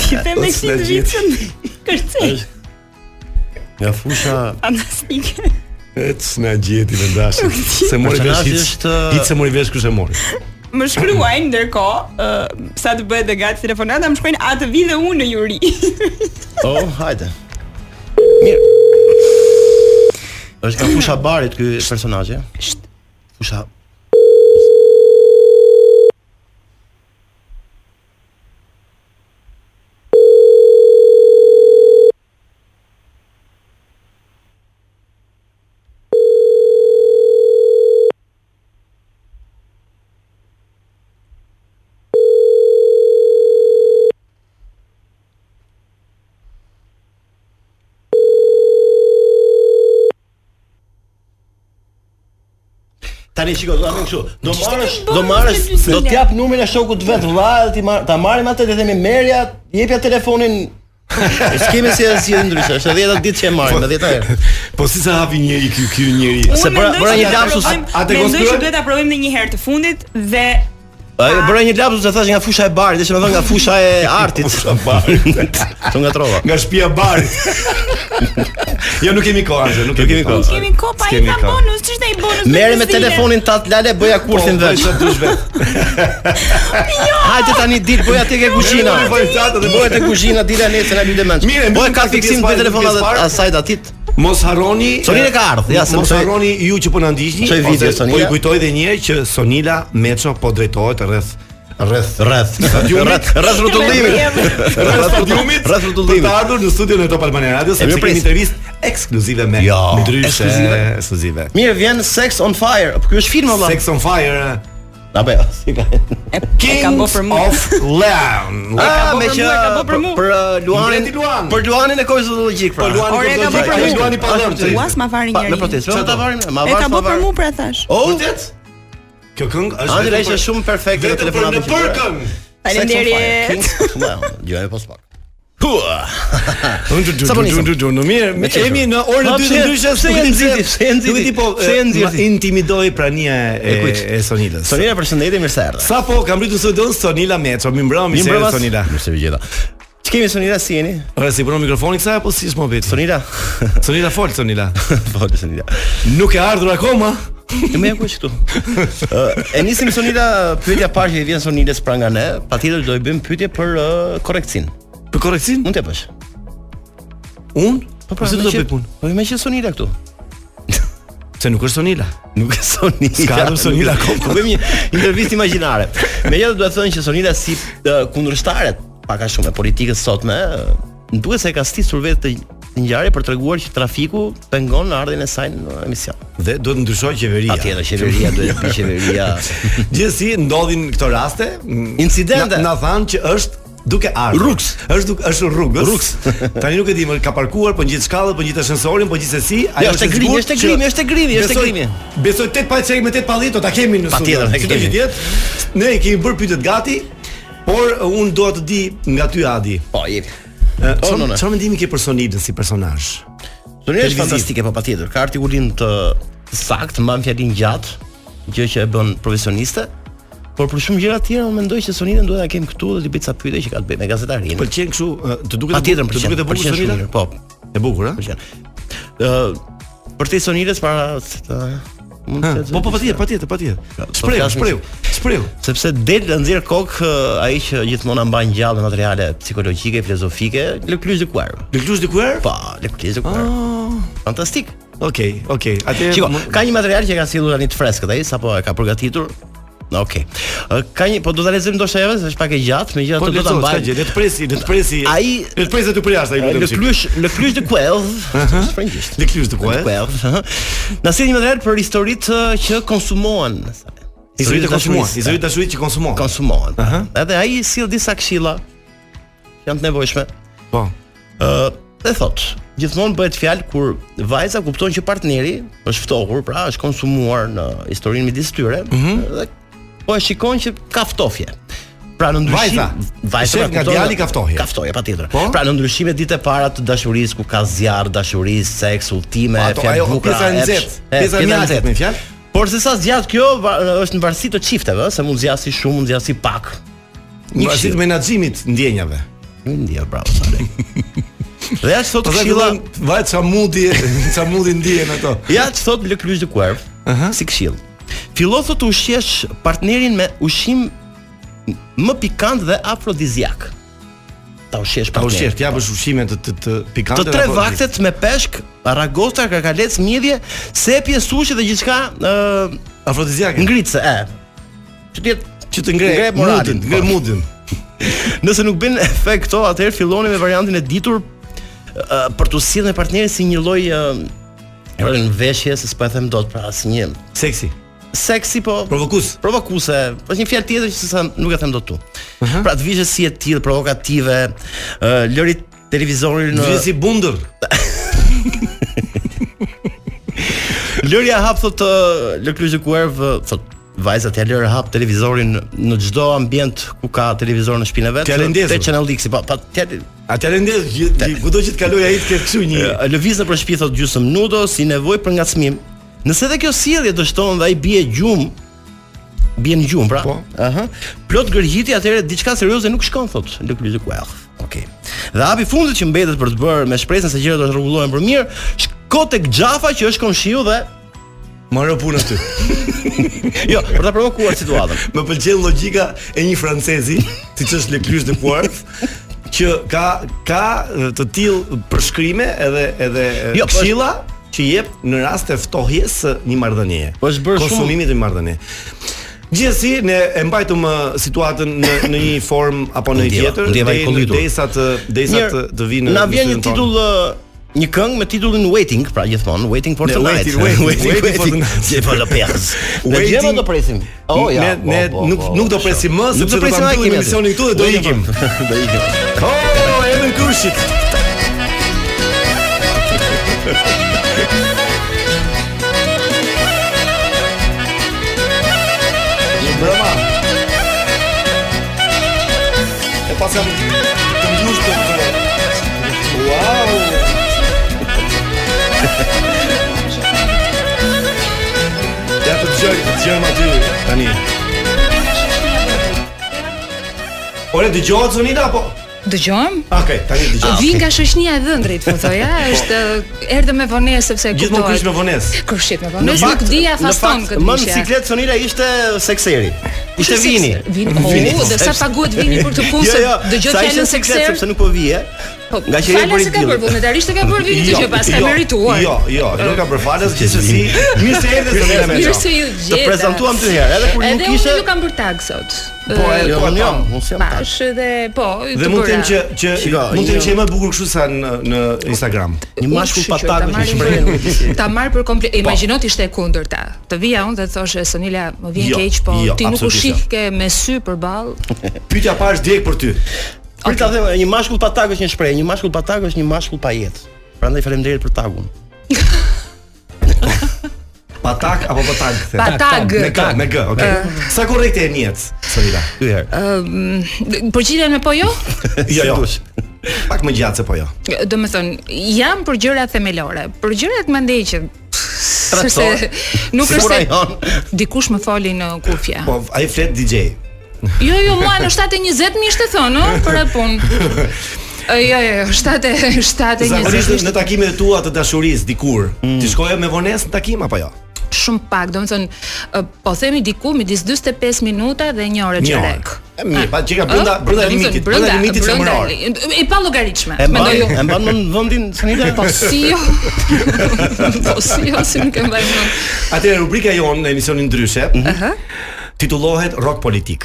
Ti them
Eh,
me
Ose na
100
gjithë.
vitën. Kërcej.
Nga fusha
Fantastike.
Ec na gjeti në dashje. Se mori vesh
Personazhi
hiç.
është-
Hiç se mori vesh kush e mori.
Më shkruajnë ndërkohë, ë, sa të bëhet dhe gati telefonata, më shkruajnë atë vi dhe unë në juri.
Oh, hajde. Mirë. Është nga fusha barit ky personazh, ja? Fusha. Tani shiko, do ta bëjmë kështu. Do marrësh, do marrësh,
me
do të jap numrin e shokut vet, vëlla, ti mar, ta marrim atë dhe themi merja, jepja telefonin. Skemi si si ndryshe, është 10 ditë që e marrim, 10 herë.
Po si sa hapi njëri ky ky njëri?
Se bëra- bëra një lapsus.
A- a
atë
te
Mendoj
konspiroj?
që duhet ta provojmë edhe një herë të fundit dhe
Ai bëra një lapsus e thash nga fusha e barit, ishte më thënë nga fusha e artit.
Fusha e barit.
Tu ngatrova.
Nga shtëpia e barit. Jo nuk kemi kohë, Anxhe,
Nuk
nuk kemi
kemi
kohë.
kohë.
kemi kopa i
S'kemi
ka
kohë.
bonus, ç'është ai bonus?
Merre me
zile?
telefonin tat Lale, bëja kursin
Po,
veç.
sa dush vet.
Hajde tani dil, bëja tek e kuzhina.
Nuk bëj tatë dhe
Bëja tek kuzhina dila nesër na lutem mend.
Mirë,
Po e
mbyllim
ka
këtë
fiksim
pjesë
dy
parë,
telefona
pjesë parë.
asaj datit.
Mos harroni
Sonila ka ardhur, ja, se
mos
mos e-
harroni ju që po na ndiqni.
Çoj video,
ose Po
Sonila.
ju kujtoj edhe një herë që Sonila Meço po drejtohet rreth rreth
Rreth. Rreth rreth rrotullimit.
rreth stadiumit.
Rreth rrotullimit.
Për të ardhur në studion e Top Albania Radio sepse
mirë,
kemi
pres.
intervistë ekskluzive me
Jo,
ndryshe
ekskluzive.
ekskluzive.
Mirë, vjen Sex on Fire. Po ky është film valla.
Sex on Fire.
Apo jo. si ka.
bë
Kings
për mua.
of Leon.
ka bë
Ah, me
për
që
mua, e ka bë për mua.
për uh, Luanin,
Mbreti Luan.
për Luanin e kohës zoologjik pra.
Po, Luani
Ore, e ka bë
zoologjik,
për
ai
mua.
Luani pa
Është
dhënë,
vërtet.
se-
Ua, s'ma varin
Pa-
njeri.
Në protestë, çfarë ta varin? Ma
E
vash,
ka
ma
bë për
varin.
mua pra thash.
Oh,
Vërtet? Kjo këngë është
Andrej
vetëm
është
për-
shumë perfekte
vetëm
në telefonatën
për
që
në për
bëre.
këngë.
Faleminderit.
Gjojmë pas pak. Hua.
Sa po nisëm? Në mirë, me
qeshur.
jemi në orën
Po,
2
pse-
të ndryshe.
pse
nuk
e
e di pse-
nxiti, pse e nxiti,
nuk e di po,
pse e
e,
nxiti?
ma intimidoi prania e
E kujt?
e Sonilës.
Sonila, përshëndetje, mirë se erdhe.
Sa po kam rritur studion Sonila Meço, mi mbrëm mi se
mbrëmas.
Sonila.
Mirë se vjen. Ç'kemi Sonila si jeni?
Ora si punon mikrofonin kësaj apo si s'mo vetë?
Sonila.
Sonila fol Sonila.
Po, Sonila.
Nuk e ardhur akoma.
Ne më jaku këtu. Ë, e nisim Sonila pyetja e parë që i vjen Sonilës pra nga ne, patjetër do i bëjmë pyetje për ë, korrekcin.
Për korreksin?
Mund të bësh.
Un? Po
pra,
pse do
me
të
që-
bëj punë?
Po më që Sonila këtu.
Se nuk është Sonila.
Nuk e Sonila.
S'ka ardhur Sonila akoma.
Po bëjmë një intervistë imagjinare. Megjithatë duhet të thonë që Sonila si ë, kundërshtaret pak a shumë e politikës sotme, ë, më duket se e ka stisur vetë të të ngjarje për treguar që trafiku pengon në ardhin e saj në emision.
Dhe duhet ndryshoj qeveria.
Patjetër qeveria duhet të bëj qeveria.
Gjithsesi ndodhin këto raste, m,
Incidente.
Na, na thanë që është duke ardhur.
Rruks.
Është duke është rrugës. Rruks. Tani nuk e di, më ka parkuar po gjithë shkallën, po gjithë ascensorin, po gjithsesi,
Jo, është e grimi, është e grimi, është e grimi, është e grimi.
Besoj 8 pa çeg me 8 pallit do ta kemi në
Patjetër, ne
Si do
kemi.
që tjetë, Ne i kemi bërë pyetjet gati, por uh, unë dua të di nga ty Adi.
Po, jepi.
Ë,
Oh, no,
Çfarë
no.
çfarë mendimi ke për Sonilën si personazh?
Sonja është
Televiziv.
fantastike po patjetër. Ka artikullin të sakt, mban fjalin gjatë, gjë që e bën profesioniste. Por për shumë gjëra të tjera unë mendoj që Soninën duhet ta kemi këtu dhe të bëj ca pyetje që ka të bëjë me gazetarinë.
Pëlqen kështu, ë, të duket e
Patjetër
bu-
më
të
pëlqen.
duket e bukur
pëlqen shumë
Sonila?
mirë, Po,
E bukur, ë?
pëlqen. Ë, për te Sonilës para se ta mund
Ha,
të
Po po patjetër, patjetër, patjetër.
Po,
Shpreh,
flasim-
shpreh, shpreh.
sepse del të nxjerr kokë ë, ai që gjithmonë na mban gjallë me materiale psikologjike, filozofike, lëklysh dikuar.
Lëklush dikuar?
Po, lëklysh dikuar.
Ah.
Fantastik.
Okej, okej. Atë
Shiko, ka një material që ka sjellur tani të freskët ai, sapo e ka përgatitur. Na okay. Ë, Ka një, po do ta lexojmë ndoshta edhe se është pak e gjatë,
po
megjithatë do
lezo,
ta
s'ka gjë,
mbaj.
le të presi, le të presi.
Ai-
le të presi aty për jashtë ai
Ë,
lutem.
Lëklysh, lëklysh de Quelv, frëngjisht.
Lëklysh de Quelv.
Na sjell një material për historitë ë, që konsumohen.
Historitë e konsumohen,
dashurisë.
historitë e dashurisë që konsumohen.
konsumohen. Edhe ai sjell disa këshilla që janë të nevojshme.
Po.
Ë, dhe thot, gjithmonë bëhet fjalë kur vajza kupton që partneri është ftohur, pra është konsumuar në historinë midis tyre,
Mhm.
dhe po e shikon që ka ftofje. Pra në ndryshim
Vajza.
vajza
Shef
pra
nga
kupton-
djali ka ftohje.
Ka ftohje patjetër.
Po?
Pra në ndryshime ditë e para të dashurisë ku ka zjarr, dashuri, seks, udhime,
Po, Ato
fjalë
ajo
bukura,
pjesa e
e
nxehtë,
psh- e,
pjesa e mjaft
nxehtë.
me fjalë.
Por se sa zgjat kjo va- është në varësi të çifteve, ë, se mund zgjasi shumë, mund zgjasi pak.
Një varësi të menaxhimit ndjenjave.
India, bravo Sale. Dhe ja që thotë
Po dhe
këshilla,
fillon vajt sa mundi, sa mundi ndjen ato.
ja që thotë lëkrysh dhe kuerv, si këshill. Fillo thotë të ushqesh partnerin me ushqim më pikant dhe afrodiziak. Ta ushqesh
Ta
partnerin.
ushqesh, ti japësh ushqime të të, të pikante.
Të tre
apo-
vaktet me peshk, aragosta, kakalec, mjedhje, sepje, sushi dhe gjithçka ë
afrodiziake.
ngritse, e. Që të jetë
Që të ngrej
Ngrej moralin,
mundin, ngrej
po.
mundin.
Nëse nuk bën efekt këto, atëherë filloni me variantin e ditur uh, për të sjellë me partnerin si një lloj uh, rën veshje, se s'po e them dot, pra si një
Seksi,
seksi po
provokus.
provokuese, është një fjalë tjetër që s'sa nuk e them dot tu. Pra të vishë si e tillë provokative, uh, lëri televizorin në
Vjen si bundër.
lëria hap thot uh, lëkryzë kuerv uh, thot vajzat ja lërë hap televizorin në çdo ambient ku ka televizor në shtëpinë e vet.
T'ja lëndezur.
Te Channel X, po pa t'ja
Atë rendes kudo që të kaloj ai të ketë kështu një.
Ë, lëviz në për shtëpi thot gjysmë nudo si nevojë për ngacmim. Nëse edhe kjo sjellje dështon dhe ai bie gjum, bie në gjum pra. Po. Aha. Plot gërgjiti atëherë diçka serioze nuk shkon thot Lëklyzi Kuell. Okej. Dhe hapi fundit që mbetet për të bërë me shpresën se gjërat do të rregullohen për mirë, shko tek Xhafa që është komshiu dhe
Marrë punë aty.
jo, për ta provokuar situatën.
Më pëlqen logjika e një francezi, siç është Lecluche de Poirth, që ka ka e, të tillë përshkrime edhe edhe e,
Jo, po
këshilla që jep në rast të ftohjes së një marrëdhënie.
Po është bërë shumë-
konsumimit të një marrëdhënie. Gjithsesi ne e mbajtëm ë, situatën në në një formë apo në një
Ndjeva,
tjetër
ndjeva i
deri-
kollitur.
derisa të derisa të, të vinë
na vjen një
studion tonë.
titull ë, Një këngë me titullin Waiting, pra gjithmonë Waiting for
Ne,
Tonight.
waiting, waiting, waiting for tonight.
Je po lopez. Ne
Waiting-
gjema do presim. Oh ja.
Ne- ne
po, po,
nuk-
po,
nuk do
po,
presim
po.
më,
Nuk
sepse
do
do
presim
ta
më
mbyllim
atë.
emisionin këtu dhe do ikim.
do ikim.
Oh, emrin kushit. Je broma. E pas jam të mbush të këtu. Wow. Ja të dëgjoj, të dëgjoj ma ty Tani Ore, dëgjohet zonita apo?
Dëgjojmë?
Okej, tani dëgjohet
Vi nga shoqënia e dhëndrit, po thoja, është erdhe me vonesë sepse
Gjithmonë kush me vonesë.
Kërshit me vonesë, nuk dia faston këtë
Më në
bishja.
ciklet Sonira ishte sekseri. Ishte
Ishte
vini.
sekser- vini, po, u, dhe sa paguhet vini për këtë punë,
Jo,
se
jo,
dëgjoj
sa ishte
fjalën
në ciklet,
sekser?
Sepse nuk po vije.
Po,
Nga që je
falas
bëri
se ka
deal.
bërë vullnetarisht e ka bërë Po, vini, që pas ka
jo,
merituar.
Jo, jo, nuk ka për falas, gjithsesi. Mirë se erdhe Sonira Meço.
Mirë se ju gjeta.
Të prezantuam dy herë, edhe kur nuk
Edhe
ishe-
unë nuk kam bërë tag sot.
Po, e, po, unë jam, unë s'jam tag.
Bash edhe po,
Dhe mund të jem që që
Shiko,
mund të jem
një-
që e më e bukur kështu sa në në Instagram.
Një mashkull pa
Ta
takë që
marrim
shpreh.
për- ta marr për komplet.
Po.
Imagjino ti ishte e kundërta. Të vija unë dhe të thoshe Sonila, më vjen
Jo,
keq, po
jo,
ti nuk u
absolutisht
shih ke me sy përball.
Pyetja pa është direkt për ty.
Për ta them, një mashkull pa takë është një shpreh, një mashkull pa takë është një mashkull pa jetë. Prandaj faleminderit për takun.
Patak apo patak? kthe?
Pa tag.
Me g, me g, okay. Sa korrekte e njët, Sonila?
Dy herë.
Përgjigjen me po jo?
Jo, jo. Pak më gjatë se po jo.
Do me thënë, jam për gjëra themelore. Për gjërat mendej që sepse nuk
Si puna
është se
jon.
dikush më foli në kufje.
jo. Po ai flet DJ.
Jo, jo, mua në 7:20 më ishte thënë, ëh, për atë punë. Ë, Jo, jo, jo, 7
Zakonisht
7:20
në takimet e tua të dashurisë dikur, ti shkoje me vonesë në takim apo jo?
shumë pak, do më thënë, ë, po themi diku midis 45 minuta dhe 1 orë
Një
çerek.
orë. E mirë, pa çka brenda
Ë,
brenda
Ah, po, do më thënë,
limitit, brenda limitit femëror.
li- I pa llogaritshme,
E mban,
mendoj jo. unë.
e mban në vendin Sonira?
Po si jo? po si jo, si nuk e mbaj mend.
Atëherë rubrika jonë në emisionin ndryshe,
Mhm.
titullohet Rock Politik.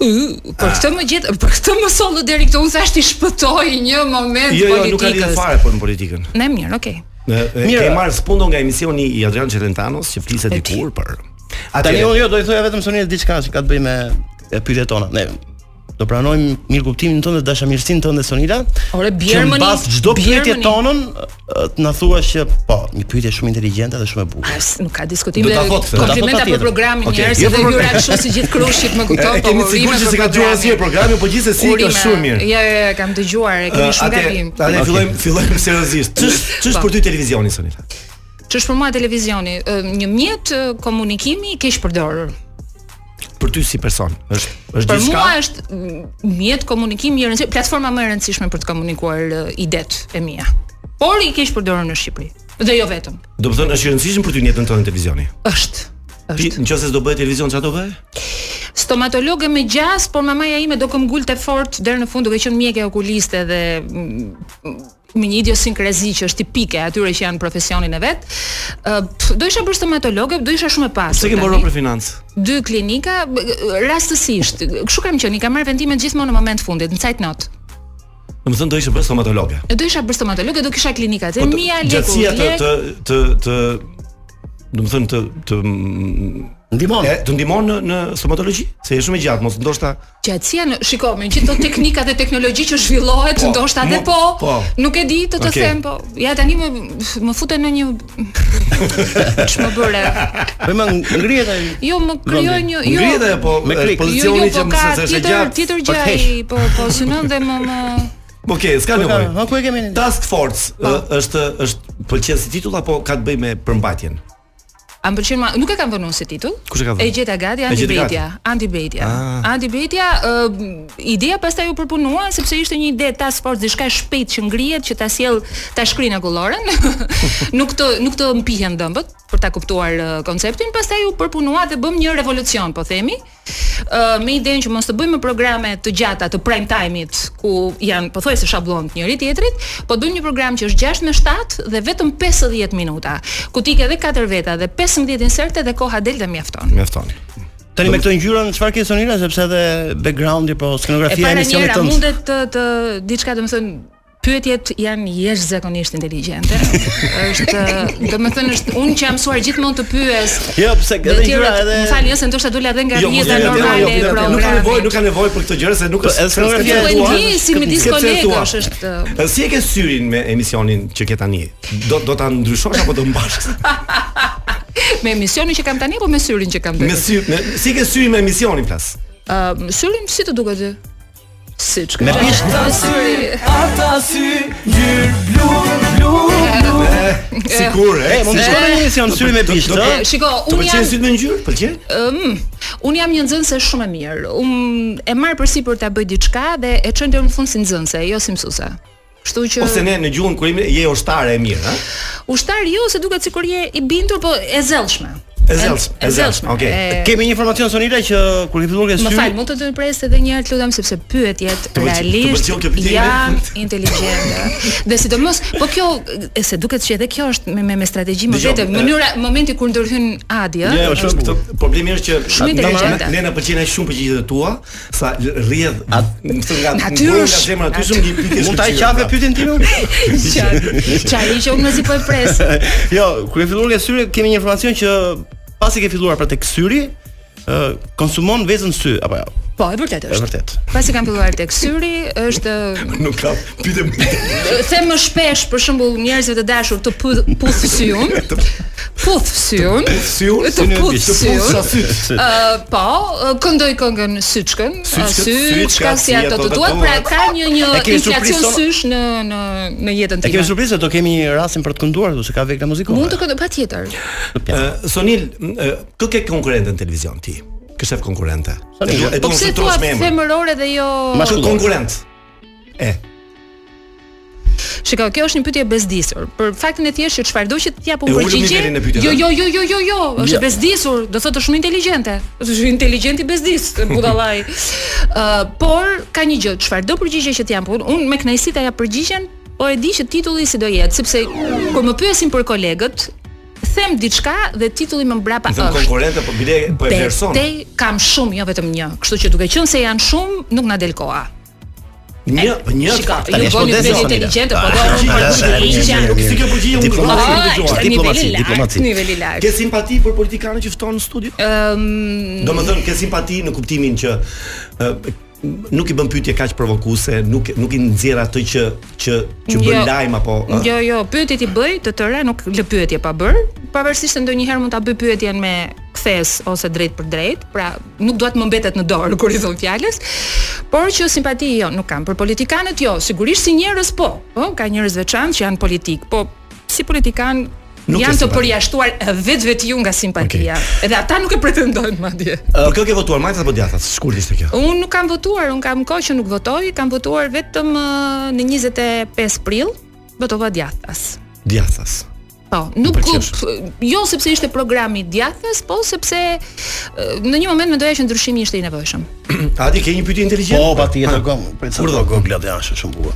Ë, Për këtë më gjet, për këtë më sollu deri këtu, unë thash ti shpëtoj një moment
Jo, jo, nuk ka lidhje
politikës.
fare po në politikën.
Ne mirë, okay.
Mirë, ke marrë spundo nga emisioni i Adrian Celentanos që fliset
E
dikur për.
Tani
Atëherë,
unë jo do i thoja vetëm Sonirës diçka që ka të bëjë me e pyetjet tona. Ne do pranojmë mirë kuptimin tënd dhe dashamirësinë tënde Sonira.
Ore,
Që
bjermëni,
mbas çdo pyetje
bjermëni.
tonën ë, të na thuash që po, një pyetje shumë inteligjente dhe shumë e bukur.
As nuk ka diskutim
Do
dhe
ta thot këtë, do ta
thot
komplimenta
atje.
për programin
Okej,
okay. njerëz
jo
dhe
për
hyra
programin.
kështu si gjithë krushit më
e
kupton po
kemi
urime
sigurt që
për
se ka dëgjuar
programin.
asnjë programi, po gjithsesi ka
Urime.
shumë mirë.
Jo, jo, jo, kam dëgjuar, e kemi shumë gabim.
Atë fillojmë fillojmë seriozisht. Ç'është ç'është
po.
për ty televizioni Sonita?
Ç'është për mua televizioni? Ë, Një mjet ë, komunikimi i keq përdorur.
Për ty si person, është është
Për
diçka.
mua është mm, mjet komunikimi i rëndësishëm, platforma më e rëndësishme për të komunikuar ë, idet e mia. Por i keq përdorur në Shqipëri. Dhe jo vetëm.
Do të thonë është i rëndësishëm për ty në jetën tënde televizioni.
Është.
Ti
Është.
nëse s'do bëhet televizion çfarë do bëj?
Stomatologe me gjas, por mamaja ime do këmgulte fort deri në fund duke qenë mjekë okuliste dhe mm, me një idiosinkrazi që është tipike atyre që janë profesionin e vet. Ë, pf, do isha bërë stomatologe, do isha shumë e pasur.
Pse ke
tani.
mbaruar për financë?
dy klinika b- rastësisht. Kështu kam qenë, i kam marrë vendimet gjithmonë në moment fundit, në cajt not.
Domethënë do ishe bërë stomatologe.
Do isha bërë stomatologe, do kisha klinikat e
Po, të-
mia, leku,
gjatësia të
lek.
të të të domethënë të të mm,
Ndihmon.
e, të ndihmon në në stomatologji, se je shumë e gjatë, mos ndoshta
Gjatësia në shiko, me gjithë ato teknika dhe teknologji që zhvillohet,
Po,
ndoshta edhe
mo-
po,
po.
nuk e di të të
Okej.
them, po. Ja tani më më futen në një ç'më bëre.
Po më ngrihet ai.
Jo, më krijoj një jo.
ngrihet ajo po
me
e,
klik.
Jo,
pozicioni
jo,
që
po
mëse
ka
se është e
tjetër
gjatë.
tjetër
po
gjë ai,
t'hesh.
po po synon dhe më më
Okej, s'ka
Po ka, ha
nevojë.
ku e kemi? ne?
Task Force ë, është është pëlqen si titull apo ka të bëjë me përmbajtjen?
A më pëlqen ma, nuk e kam vënë unë si titull.
Kush e ka vënë?
E gjeta gati
E gjeti
Antibedia, Antibedia. Antibedia, ë ideja pastaj u përpunua sepse ishte një ide task force diçka e shpejtë që ngrihet që ta sjell ta shkrinë akulloren. nuk të nuk të mpihen dëmbët për ta kuptuar ë, konceptin, pastaj u përpunua dhe bëm një revolucion, po themi. ë me idenë që mos të bëjmë programe të gjata të prime time-it ku janë po pothuajse shabllon të njëri tjetrit, po bëjmë një program që është 6 me 7 dhe vetëm 50 minuta, ku ti ke edhe 4 veta dhe 15 inserte dhe koha del dhe mjafton.
Mjafton.
Tani me këto ngjyra çfarë ke Sonira sepse edhe backgroundi po
E
skenografia e
para
emisionit
njëra
tënd.
mundet të, të diçka do të thonë Pyetjet janë jashtëzakonisht inteligjente. është, domethënë është unë që jam mësuar gjithmonë të pyes.
Jo, pse
edhe gjëra edhe Më falni, ose ndoshta dola edhe nga
Jo,
rrjeta normale
Nuk
e
ka
programit.
nevojë, nuk ka nevojë për këtë gjë, se nuk është.
skenografia Po, e tua, si midis kolegash është,
E, Si e ke syrin me emisionin që ke tani? Do do ta ndryshosh apo do mbash?
Me emisionin që kam tani apo me syrin që kam tani?
Me sy, me, si ke syrin me emisionin plas?
Ëm, syrin si të duket ty? Si çka?
Me pjesë.
Ata syri.
Ata sy gjyr blu blu blu.
Sigur, e,
mund të
se-
shkojmë në emision syri me bishtë,
E,
ë?
Shiko, unë jam
me ngjyrë? Pëlqen?
Ëm, un jam një nxënëse shumë e mirë. Un e marr përsipër ta bëj diçka dhe e çoj deri në fund si nxënëse, jo si mësuese. Kështu që
Ose ne në gjuhën kur jemi je oshtare e mirë, ha?
ushtar jo se duket sikur je i bindur, po e zellshme.
E zellshme, e zellshme. Okej.
e-
Kemi një informacion sonire që kur ke filluar ke
Më
syri,
fal, mund të të pres edhe një herë, të lutem, sepse pyetjet
Të pëlqeu-
realisht
të pëlqeu kjo pyetje?
janë inteligjente. Dhe sidomos, po kjo e se duket që edhe kjo është me me, me strategji më
Dëgjoj,
vete,
e-
mënyra momenti kur ndërhyn Adi, ë.
Jo, shumë këtë problemi është që
Shumë inteligjente.
ne na pëlqejnë aq shumë përgjigjet tua sa l- rrjedh më thënë nga
Natyrsh.
ngurë nga zemra aty shumë një pyetje.
Mund ta i qafe pyetjen time?
Çaj, që unë mezi po e pres.
jo, kur e filluar ke syri kemi një informacion që pasi ke filluar për tek syri, ë konsumon vezën sy apo jo?
Po, e vërtet
Është
është.
vërtet.
Pasi kam filluar tek syri, është
Nuk ka pyetje.
them më shpesh për shembull njerëzve të dashur të puth, puth syun. Puth syun.
Syun,
Të
syni e
puth
bish, të puth sa
syun.
syt.
Ë po, ë, këndoj këngën syçkën, ë,
Syçkët,
syçka
syçka,
si ato të duat, pra ka një një
E kemi surprizë
inflacion
sonë?
sysh në në në jetën
E kemi
time.
surprizë do kemi rastin për të kënduar, do se ka vegla muzikore.
Mund të këndoj patjetër.
Ë, Sonil, m- ë, kë ke konkurrente në televizion ti? Kë shef konkurrente?
Sonil,
E duam
Po pse
të
thua
trosh me emër.
femërore dhe jo
Kë konkurrent?
Shikoj, kjo është një pyetje e bezdisur. Për faktin e thjeshtë që çfarëdo që të japun
E ulëm
përgjigje.
nivelin e pyetjeve.
Jo, jo, jo, jo, jo, jo, është
Ja.
e bezdisur, do thotë është shumë inteligjente. Është inteligjent i bezdis, budallaj. Ë, por ka një gjë, çfarëdo përgjigje që të japun, unë me kënaqësi ta jap përgjigjen, por e di që titulli si do jetë, sepse kur më pyesin për kolegët, them diçka dhe titulli më mbrapa
Në thëmë
është.
konkurrente, po bile po e vlerëson.
Betej kam shumë, jo vetëm një. Kështu që duke qenë se janë shumë, nuk na del koha.
Një, një
Shiko,
tani
ju po
është
bëni
modeste,
vetë
Sonila.
inteligjente, po
Ah,
do unë për
është, është,
përgjigje.
është, është, Si kjo përgjigje unë
Diplomaci,
diplomaci,
diplomaci,
diplomaci,
niveli lart,
diplomaci.
niveli lart.
Ke simpati për politikanët që ftonë në studio?
Ëm,
Do më thënë, ke simpati në kuptimin që ë, nuk i bën pyetje kaq provokuese, nuk nuk i nxjerr atë që që që bën
Jo.
lajm apo ë,
Jo, jo, pyetjet i bëj të tëra, nuk lë pyetje pa bër. Pavarësisht se ndonjëherë mund ta bëj pyetjen me kthes ose drejt për drejt, pra nuk duhet më mbetet në dorë kur i thon fjalës, por që simpati jo, nuk kam. Për politikanët jo, sigurisht si njerëz po, po ka njerëz veçantë që janë politik, po si politikan
Nuk ke
janë të
simpati.
përjashtuar vetë vetë ju nga simpatia. Edhe ata nuk e pretendojnë madje.
Për kë ke votuar majtas apo djathtas? Shkurt ishte kjo.
Unë nuk kam votuar, unë kam kohë që nuk votoj, kam votuar vetëm ë, në 25 prill, votova djathtas.
Djathtas.
Po, nuk
pëlqeu
p- jo sepse ishte programi i djathtas, po sepse ë, në një moment mendoja që ndryshimi ishte i nevojshëm.
Adi ke një pyetje inteligjente?
Po, patjetër,
Ha.
gom, për
Kur
të
do?
gogla dhe është shumë bukur.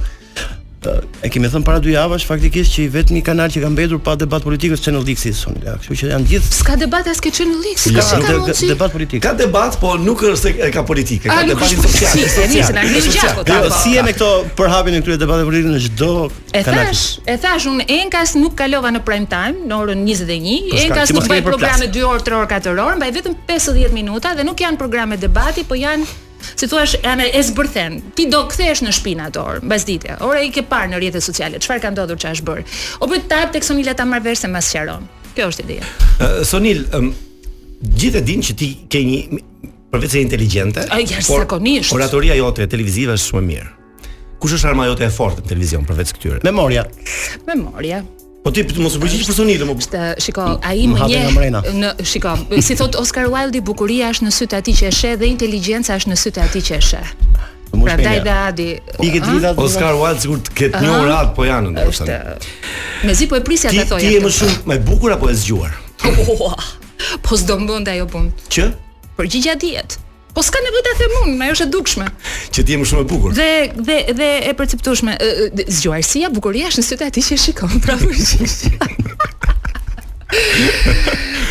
Ë, E kemi thënë para dy javash faktikisht që i vetmi kanal që ka mbetur pa debat politik është Channel Dixi Sonila, kështu që janë gjithë
S'ka debat as ke qenë në liks, s'ka s'ka
de-
mundësi.
debat politik.
Ka debat, po nuk është se e ka politike,
A,
ka
nuk
debatin
është
social.
politike,
social,
nisë, na ngrihen
social.
gjakut,
Jo,
apo?
Si e me këto përhapjen e këtyre debateve politike në çdo
E
kanal.
thash, e thash unë Enkas nuk kalova në prime time në orën 21.
Po s'ka,
Enkas
që mos
nuk bëj
kemi për
programe
plas.
2 orë, 3 orë, 4 orë, mbaj vetëm 50 minuta dhe nuk janë programe debati, po janë si thua janë e zbërthen. Ti do kthehesh në shtëpinë atë orë, mbas dite. Ora i ke parë në rrjetet sociale, çfarë ka ndodhur, çfarë është bërë. O bëj ta hap tek Sonila ta marr vesh se më sqaron. Kjo është ideja.
Ë, Sonil, ëm, gjithë e dinë që ti ke një përveç se inteligjente,
Ai, jashtëzakonisht.
por oratoria jote e televizive është shumë e mirë. Kush është arma jote e fortë në televizion përveç këtyre?
Memoria.
Memoria.
Po ti mos u përgjigj për Sonilën, po.
Të shiko, ai
Më
më
hapi nga mrena.
nje në shiko, si thot Oscar Wilde, bukuria është në sy të atij që e sheh dhe inteligjenca është në sy të atij që e sheh.
mos
Pra
me
daj
nja.
dhe Adi.
I ke
ë?
drita Oscar Wilde sigur të ketë një
Aha.
orat, po janë ndoshta.
Mezi po e prisja
Ti
ta thoja.
ti je
këtë.
më shumë më e bukur apo e zgjuar?
Ua, Po s'do mbënda ajo punë.
Që
Përgjigja dihet. Po s'ka nevojë ta them unë, ajo është e dukshme.
që ti je më shumë e bukur.
Dhe dhe dhe e perceptueshme. Ë, ë, d- Zgjuarësia, bukuria është në sytë atij që e shikon. Pra përgjigja.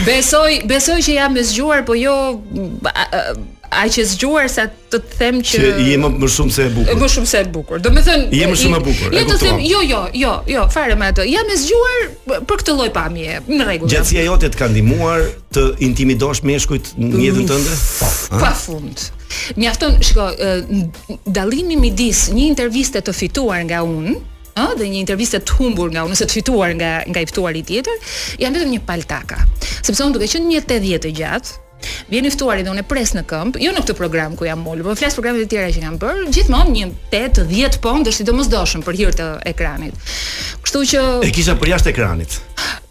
Besoj, besoj që jam e zgjuar, po jo a- a- aq e zgjuar sa të të them që
Që je më më shumë se e bukur.
Më shumë se e bukur. Do me thënë
Je më shumë e bukur, e
Jo të
kuptova.
them, jo, jo, jo, jo, fare me atë. Jam e zgjuar për këtë lloj pamje, në rregull. jam.
Gjatësia jote të ka ndihmuar të intimidosh meshkujt në jetën tënde?
Pa Pafund. Mjafton, shiko, ë, n- dallimi midis një interviste të fituar nga unë, ë, dhe një interviste të humbur nga unë ose të fituar nga nga i ftuari tjetër, janë vetëm një paltaka. Sepse unë duke qenë 180 e gjatë, Vjen i ftuari dhe unë e pres në këmbë, jo në këtë program ku jam molur, por flas programet e tjera që kam bërë, gjithmonë një 8-10 pond është i domosdoshëm për hir të ekranit. Kështu që
E kisha për jashtë ekranit.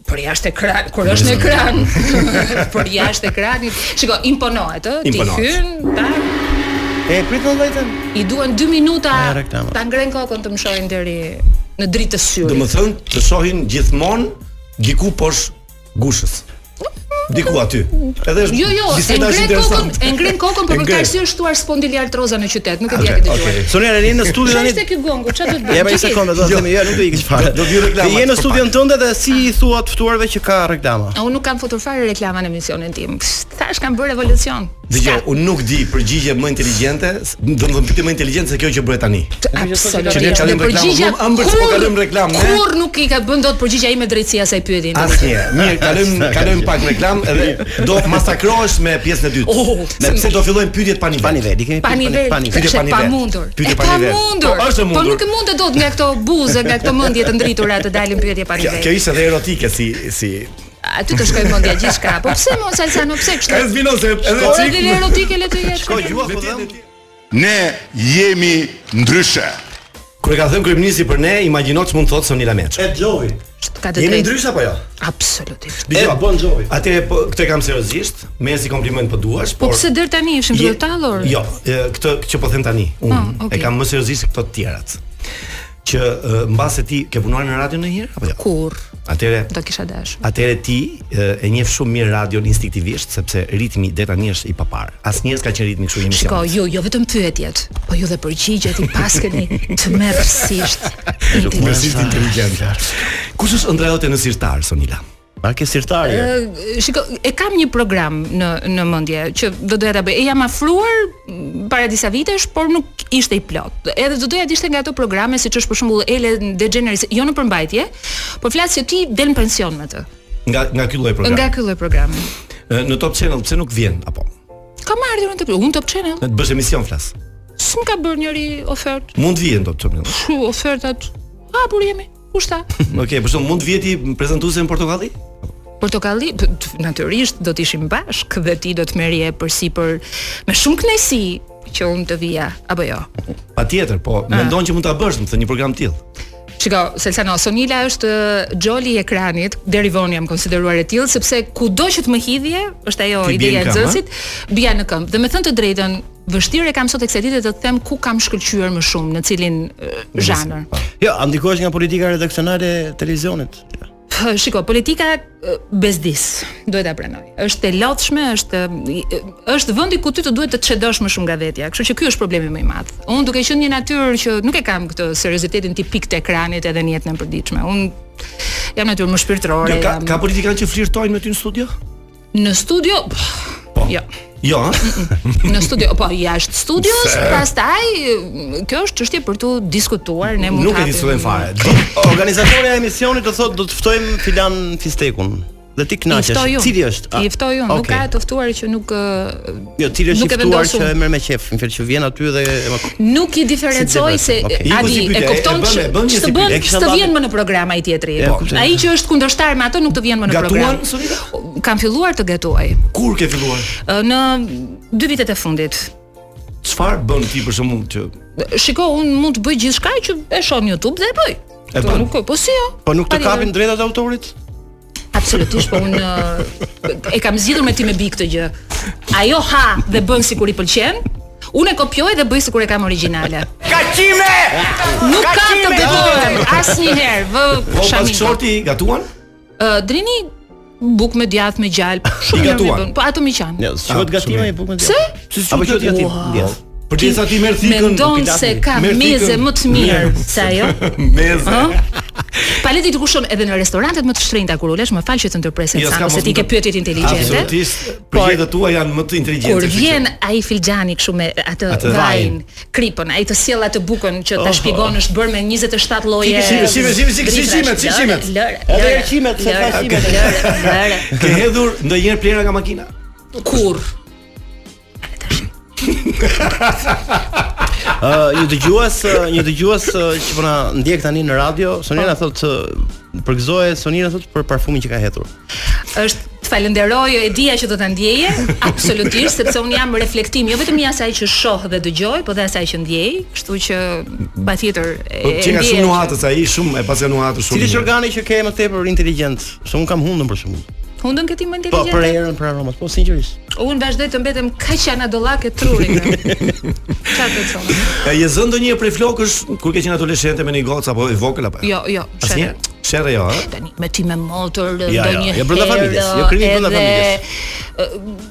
për jashtë ekran, kur është në ekran, për jashtë ekranit. Shiko, imponohet, ë, ti
Imponohet.
hyn, tak.
E prit më vajtën.
I duan 2 minuta
E, reklama.
ta ngren kokën të më shohin deri në dritë të syrit.
Do të thënë të shohin gjithmonë diku poshtë gushës. Diku aty. Edhe është
Jo, jo, e
biseda është
ngren kokën,
interesante.
e ngren kokën për
E
për
ngren.
këtë arsye është shtuar spondilartroza në qytet, nuk e di
Okej,
a ke dëgjuar.
okej.
Sonia Reni në studio
Çfarë
tani.
ishte ky gongu? Çfarë do të bëj?
Ja pa një sekondë, do të themi, jo, nuk do ikësh fare.
Do vi reklamat
Je në
për
studion tënde dhe si i thua të ftuarve që ka reklama?
A unë nuk kam futur fare reklama në emisionin tim. Psh, Thash kam bërë revolucion.
Dgjoj, jo, unë nuk di përgjigje më inteligjente, do të them pyetje më inteligjente se kjo që bëhet tani.
Absolutisht.
Që ne kalojmë
Dhe
reklamën,
përgjigja
më ëmbël se po
kur-
kalojmë reklamën, ne?
Kur nuk i ka bën dot përgjigja ime drejtësia asaj pyetje.
Asnjëherë. Mirë, kalojmë kalojmë pak reklam edhe do masakrohesh me pjesën e dytë.
Oh,
me pse do fillojmë pyetjet pa nivel. Pa nivel, kemi
Pa nivel,
pyetje
është
pa
e
nivel.
pamundur.
Pyetje
E
pa nivel.
pamundur.
Po është e
Po
mundur.
nuk e mund të dot nga këto buze, nga këto mendje të ndritura të dalin pyetje pa
Kjo,
nivel.
kjo ishte edhe erotike si si
Aty të shkoj mendja gjithçka. Po pse mos Alsano, pse kështu?
Ka zvino se edhe
Ora
çik-
dhe erotike le të jetë. Shkoj
gjua po dëm.
Ne jemi ndryshe.
Kur e ka thënë kryeministi për ne, imagjino ç'mund thotë Sonila Meç.
E Jovi.
Ka të
Jemi
drejtë.
ndrysh apo jo?
Absolutisht.
Dgjoj,
Bon Jovi.
Atë po këtë e kam seriozisht, me si kompliment po duash,
Po
por
pse deri tani ishim
Je-
duke tallur?
Jo, e, këtë që po them tani, unë
Ah, okay.
e kam më seriozisht se këto të tjerat. Që e, mbas se ti ke punuar në radio ndonjëherë apo jo?
Kur?
Atëre
Do kisha dashur.
Atëherë ti e, e njeh shumë mirë radion instinktivisht sepse ritmi deri tani është i papar. Asnjëherë s'ka qenë ritmi kështu i
Shiko,
emisionit.
ju, jo vetëm pyetjet, po ju dhe përgjigjet i paskeni të merrsisht.
Mesisht inteligjent. Kush është ëndra jote në sirtar Sonila?
Pa ke jo? sirtarje.
Ë, Shiko, e kam një program në në mendje që do doja ta bëj. E jam afruar m, para disa vitesh, por nuk ishte i plot. Edhe do doja të ishte nga ato programe siç është për shembull Ele DeGeneres, jo në përmbajtje, por flas që ti del në pension me të.
Nga nga ky lloj programi.
Nga ky lloj programi.
E, Në Top Channel pse nuk vjen apo?
Kam ardhur në të unë Top Channel.
Në të bësh emision flas.
S'm ka bërë njëri ofertë.
Mund vjen Top Channel.
Shu, ofertat. Hapur jemi. Kushta?
Okej, për shembull mund vjeti prezantuese në Portokalli?
Portokalli p- t- natyrisht do të ishim bashk dhe ti do të merrje përsipër me shumë kënaqësi që unë të vija apo jo.
Patjetër, po
Ah.
mendon që mund ta bësh, më thënë një program të tillë.
Shiko, Selsano, Sonila është ë, Gjoli i ekranit, deri vonë jam konsideruar e tillë sepse kudo që të më hidhje, është ajo
Ti bie
ideja
në
e
këmbë,
Xësit, bija në këmbë. Dhe me thënë të drejtën, vështirë e kam sot e kësaj dite të them ku kam shkëlqyer më shumë në cilin ë, zhanër.
Jo, a ndikohesh nga politika redaksionale e televizionit?
Pë, Shiko, politika ë, bezdis, duhet ta pranoj. Është e lodhshme, është i- ë, është vendi ku ty të duhet të çedosh më shumë nga vetja. Kështu që ky është problemi më i madh. Unë duke qenë një natyrë që nuk e kam këtë seriozitetin tipik të ekranit edhe në jetën e përditshme. Unë jam natyrë më shpirtërore.
Jo, ka
jam...
ka politikanë që flirtojnë me ty në studio?
Në studio, pff, jo.
Jo, ha?
Në studio, po jashtë studios,
Se-
pastaj kjo është çështje për tu diskutuar, ne mund
Nuk e
hapim-
diskutojmë fare.
Organizatorja e emisionit të thotë do të ftojmë filan fistekun. Dhe ti
I
kënaqesh.
ftoj unë.
Cili është?
I ftoj unë,
Ah,
nuk
okay.
ka të ftuar që nuk ë,
Jo, cili është
Nuk
i ftuar
e vendos
që
unë.
e merr me qef, në fakt që vjen aty dhe e ma-
Nuk i
Si
diferencoj
të
se
bëhet, okay. Iku
Adi
si
e
pyetje,
kupton
e bën,
që
e bën, një
ç'të
si
bën,
pyetje. E kisha
ç'të
dalë-
vjen më në program ai tjetri.
E, kuptoj.
Ai që është kundërshtar me atë nuk të vjen më në
Gatuan,
program. Gatuan? Kam filluar të gatuaj.
Kur ke filluar?
Ë, Në dy vitet e fundit.
Çfarë bën ti për shembull që
Shiko, unë mund të bëj gjithçka që e shoh në YouTube dhe e bëj.
E
Po
bën.
nuk, po si jo?
Po nuk të
Patjetër.
kapin drejtat e autorit?
Absolutisht, po unë ë, e kam zgjidhur me ti me bi këtë gjë. Ajo ha dhe bën sikur i pëlqen. Unë e kopjoj dhe bëj sikur e kam origjinale.
Kaqime!
Nuk ka të
Kaqime!
gëdoj asnjëherë vë
Po pas
shamin.
shorti gatuan?
Ë, drini buk me djath me gjal,
I
shumë mirë
gatuan.
bën. Po ato mi qan.
Jo,
Ah,
s'qohet
Po,
gatima i bukën.
Pse?
Apo qoftë gatim? Jo.
Për gjithsa ti merr thikën.
Mendon
nuk i lati.
se ka
Merr thikën.
meze më të mirë se ajo?
Meze.
Ë? Paleti diku shon edhe në restorantet më të shtrenjta kur ulesh, më fal që të ndërpresin
Jo,
sa
s'ka
ose
mos
ti
më
ke
të-
pyetjet inteligjente.
Absolutisht, përgjetët tua janë më të inteligjente.
Kur
kështu që-
vjen ai filxhani kështu me atë
Atë
vajin, kripën, ai të sjell atë bukën që ta
Oh,
shpjegon është bërë me 27
Si- si-
lloje.
si- si- si- si- si- shimet, si- shimet. Edhe
shimet, se
tha shimet.
Lëre,
Ke hedhur ndonjëherë plera nga makina?
lëre. Kur?
Ë, një dëgjues, ë, një dëgjues ë, që po na ndjek tani në radio, Sonira
Po.
thotë ë, përgëzoje Sonira thotë për parfumin që ka hetur.
është të falenderoj, e dija që do ta ndjeje, absolutisht, sepse un jam reflektim jo vetëm i asaj që shoh dhe dëgjoj, por dhe asaj që ndjej, kështu që patjetër e
Po që nga
ndjej.
shumë nuhatës ai, shumë e pas janë nuhatës shumë.
Cili është organi që ke më tepër inteligjent? Se un kam hundën për shembull.
Hundën këti më
Po për
inteligjente.
erën, për aromat, po sinqerisht.
Unë vazhdoj të mbetem kaq anadollak e trurit. Çfarë të thonë?
E je zënë ndonjë prej flokësh kur ke qenë adoleshente me një gocë apo i vogël apo?
Jo, jo,
Asnjë?
sherrë.
Sherrë jo, ëh.
Tani me ti me motor,
Ja, ja,
ndonjë.
jo brenda familjes, jo krimi brenda
familjes.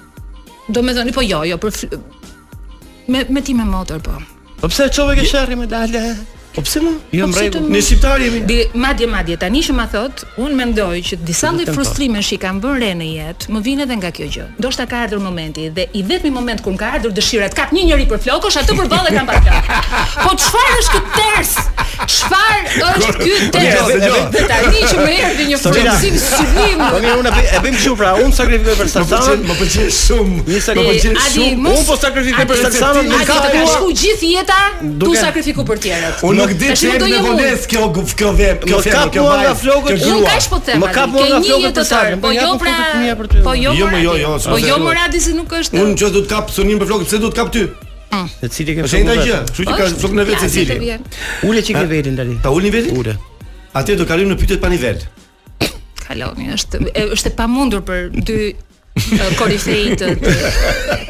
Do me thoni po jo, jo, për fl- me me ti me motor po.
Po pse çove ke sherrin me lale? Po pse më? Jo
Po
në
pse
rregull.
të-
Ne shqiptar jemi.
Di, madje madje tani që ma thot, unë mendoj që disa lloj
Vetëm
frustrimesh që i kam bërë re në jetë, më vjen edhe nga kjo gjë. Ndoshta ka ardhur momenti dhe i vetmi moment kur më ka ardhur dëshira të kap një njerëz për flokësh, atë për ballë e kam pasur. Po çfarë është ky ters? Çfarë është ky ters?
Dëgjoj, dëgjoj.
Dhe tani që më erdhi një
Sorry,
frustrim
na.
synim.
Po mirë, unë e bëj- e bëjmë kështu pra, unë sakrifikoj për
Më
Saksanën.
pëlqen, më pëlqen shumë.
Një
E,
sakrifikoj.
Adi,
shumë.
mos-
Unë po sakrifikoj për
Adi,
Saksanën, nuk
Adi,
ka
të ka
tua.
shku gjithë jeta, tu
Duke-
sakrifiku për tjerët.
Unë nuk di
Tash
çe
nuk do
në
jem unë.
vonesë kjo gu- kjo vem, kjo
Më
femër,
kap
kjo
mua nga
vajzë,
flokët,
kjo
Unë
grua.
kaq po them.
Më
Adi,
kap mua
ke
nga
një
flokët
jetë
për
të
sarën,
tërë,
po
Po
ja
jo
po
pra.
flokët të mia për ty.
Po jo.
Jo,
pra,
më jo,
Adi.
jo,
Po
s'mos e
jo
thuaj.
Moradi se nuk është.
Unë që do të kap sonin për flokët, pse do të kap ty?
Secili ke
Është njëta
flokët
gjë,
vetë.
kështu që ka
Është,
flokën e vet
ja, si të
secili.
vjen.
Ule çik e vetin tani.
Ta ulni vetin?
Ule.
Atë do kalojmë në pyetjet pa nivel.
Kaloni është e, është e pamundur për dy e, korifej të të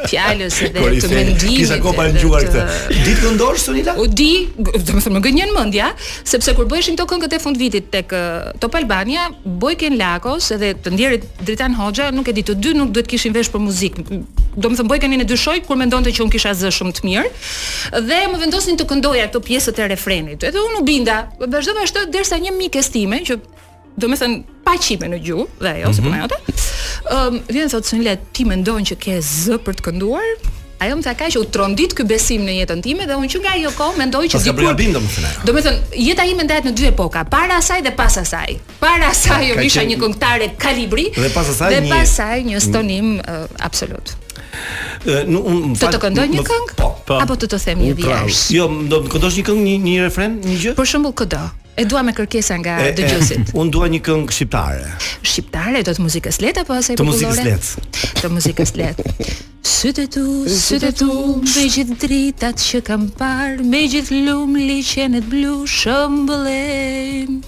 fjalës dhe të
Korifej,
mendimit.
kisha kohë pa
edhe
ngjuar
të-
këtë. Ditë këndosh Sonila?
U di, g- do të thënë më gënjen mendja, sepse kur bëheshin këto këngët e fund vitit tek ë, Top Albania, Bojken Lakos edhe të ndjerit Dritan Hoxha, nuk e di, të dy nuk duhet kishin vesh për muzikë. M- Do të thënë Bojkenin e dyshoj kur mendonte që un kisha zë shumë të mirë dhe më vendosin të këndoja këto pjesët e refrenit. Edhe unë u binda, vazhdova ashtu derisa një mikes time që do me thënë pa qime në gjuhë dhe ajo,
Mhm.
si puna jote. Ëm vjen thotë Sunile, ti mendon që ke zë për të kënduar? Ajo më tha kaq që u trondit ky besim në jetën time dhe unë që nga ajo kohë mendoj që
Pas ka
dikur
bërë bindëm thënë.
Do me thënë, jeta ime ndahet në dy epoka, para asaj dhe pas asaj. Para asaj
Ka
unë isha
qenë-
një këngëtare kalibri
Dhe pas asaj
dhe
një-
pasaj një stonim ë, absolut.
Nuk unë më
Të
fal-
të këndoj një
më-
këngë
Po, po.
apo të të them një
Unë prap.
vjersh.
Jo, më do të këndosh një këngë, një, një refren, një gjë?
Për shembull këdo. E dua me kërkesa nga
E, e,
dëgjuesit.
Unë dua një këngë shqiptare.
Shqiptare do të muzikës lehtë apo asaj
Të muzikës
popullore?
lehtë.
Të muzikës lehtë. Sytë tu, sytë tu, me gjithë dritat që kam parë, me gjithë lumë liqenet blu shëmbëllen.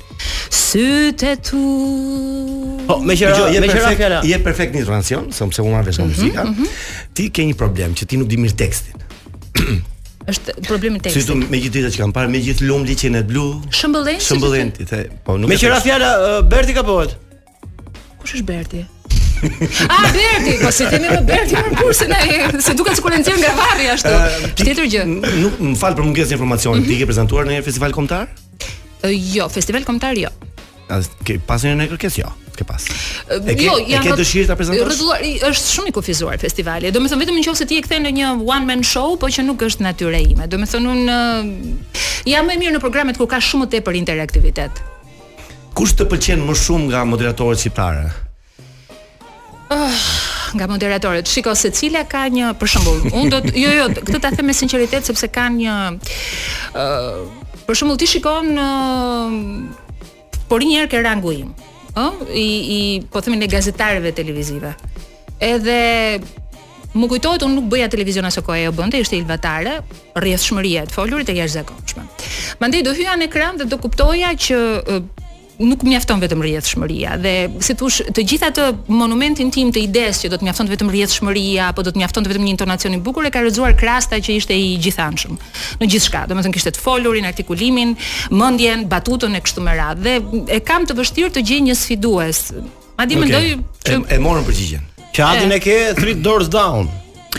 Sytë tu.
Po, me qira,
Dgjoj, je
me qira
perfekt-
fjala.
Je perfekt në transion, sepse unë marr vesh nga muzika. Ti ke një problem që ti nuk di mirë tekstin.
Është problemi
Si tu
tekstit.
me gjithë ditët që kam parë, me gjithë lumli që në blu,
Shëmbëllen. si
shëmbëllën ti the, po nuk
Me
e
qira
thesh.
fjala ë, Berti kapohet.
thotë? Kush është Berti? A Berti, po si themi më Berti për kurse na e- se duket sikur e nxjerr nga varri ashtu.
Ë, ti-
Tjetër gjë.
N- Nuk më fal për mungesën e informacionit. Ti ke prezantuar në një festival kombëtar?
Ë, Jo, festival kombëtar jo.
A ke pas një në kërkesë? Jo, s'ke pas. E ke,
jo,
e ke
rrot-
dëshirë ta prezantosh?
rrotulluar, i- është shumë i kufizuar festivali. Do të thënë vetëm nëse ti e kthen në një one man show, po që nuk është natyra ime. Do të thënë unë ë, jam më e mirë në programet kur ka shumë të tepër interaktivitet.
Kush të pëlqen më shumë nga moderatorët shqiptarë?
nga moderatorët. Shiko secila ka një për shembull, unë do të jo jo, këtë ta them me sinqeritet sepse ka një ë për shembull ti shikon uh, por një herë ke rangu im, ë i i po themin e gazetarëve televizive. Edhe më kujtohet unë nuk bëja televizion aso kohë ajo bënte, ishte ilvatare, rrjedhshmëria e të folurit e jashtëzakonshme. Mandej do hyja në ekran dhe do kuptoja që ë, nuk mjafton vetëm rrjedhshmëria dhe si thosh të gjithë atë monumentin tim të idesë që do të mjafton vetëm rrjedhshmëria apo do të mjafton vetëm një intonacion i bukur e ka rrezuar krasta që ishte i gjithanshëm në gjithçka domethënë kishte të folurin artikulimin mendjen batutën e kështu me radhë dhe e kam të vështirë të gjej një sfidues madje mendoj që
E, e morën përgjigjen.
Që Adin e ke Three Doors Down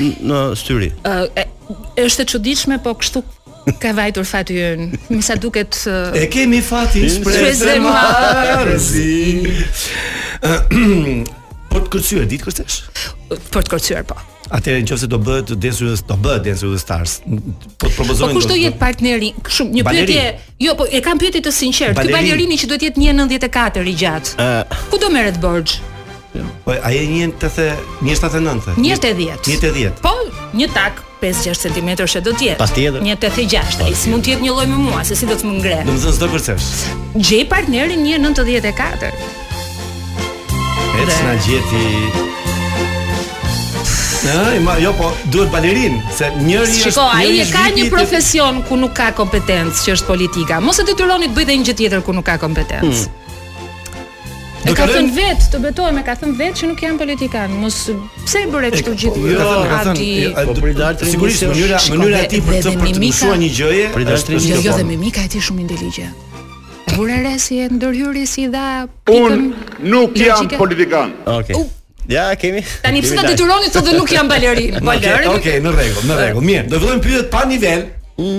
n- në styri.
Ë, e- është e çuditshme, po kështu Ka vajtur fati ynë. Me sa duket uh,
E kemi fatin shpresë marrësi.
Po të kërcyer ditë kërcesh?
Po të kërcyer po.
Atëherë nëse do bëhet Dance with do bëhet Dance with the Stars. Po të propozojnë.
Po kush do jetë partneri? Shumë një pyetje. Jo, po e kam pyetje të sinqertë. Ky balerini që duhet jetë 1.94 i gjatë. Uh, ku do merret borxh?
Po ai një të the 1.79.
1.80.
1.80.
Po, një tak 5-6 cm që do të jetë.
Patjetër.
1.86. Ai s'mund të jetë një lloj me mua, se si do të më ngre.
Domethënë s'do kërcesh.
Gjej partnerin 1.94.
Ecë na gjeti Ëh, ma jo po, duhet balerin, se njëri
Shiko, është Shiko, ai e ka një profesion ku nuk ka kompetencë, që është politika. Mos e detyroni të bëjë një gjë tjetër ku nuk ka kompetencë. Hmm. E ka thënë vetë, të betohem, e ka thënë vetë që nuk jam politikan. Mos pse e bëre kështu gjithë.
Jo, ka thënë, po pridartri sigurisht mënyra mënyra e tij për të për të mëshuar një gjëje.
Pridartri jo, jo dhe mimika e tij shumë inteligjent. Vurere si e ndërhyri si dha
Un nuk jam politikan.
Okej. Ja, kemi.
Tani pse ta detyroni thotë nuk jam balerin. Balerin.
Okej, okay, në rregull, në rregull. Mirë, do fillojmë pyetjet pa nivel.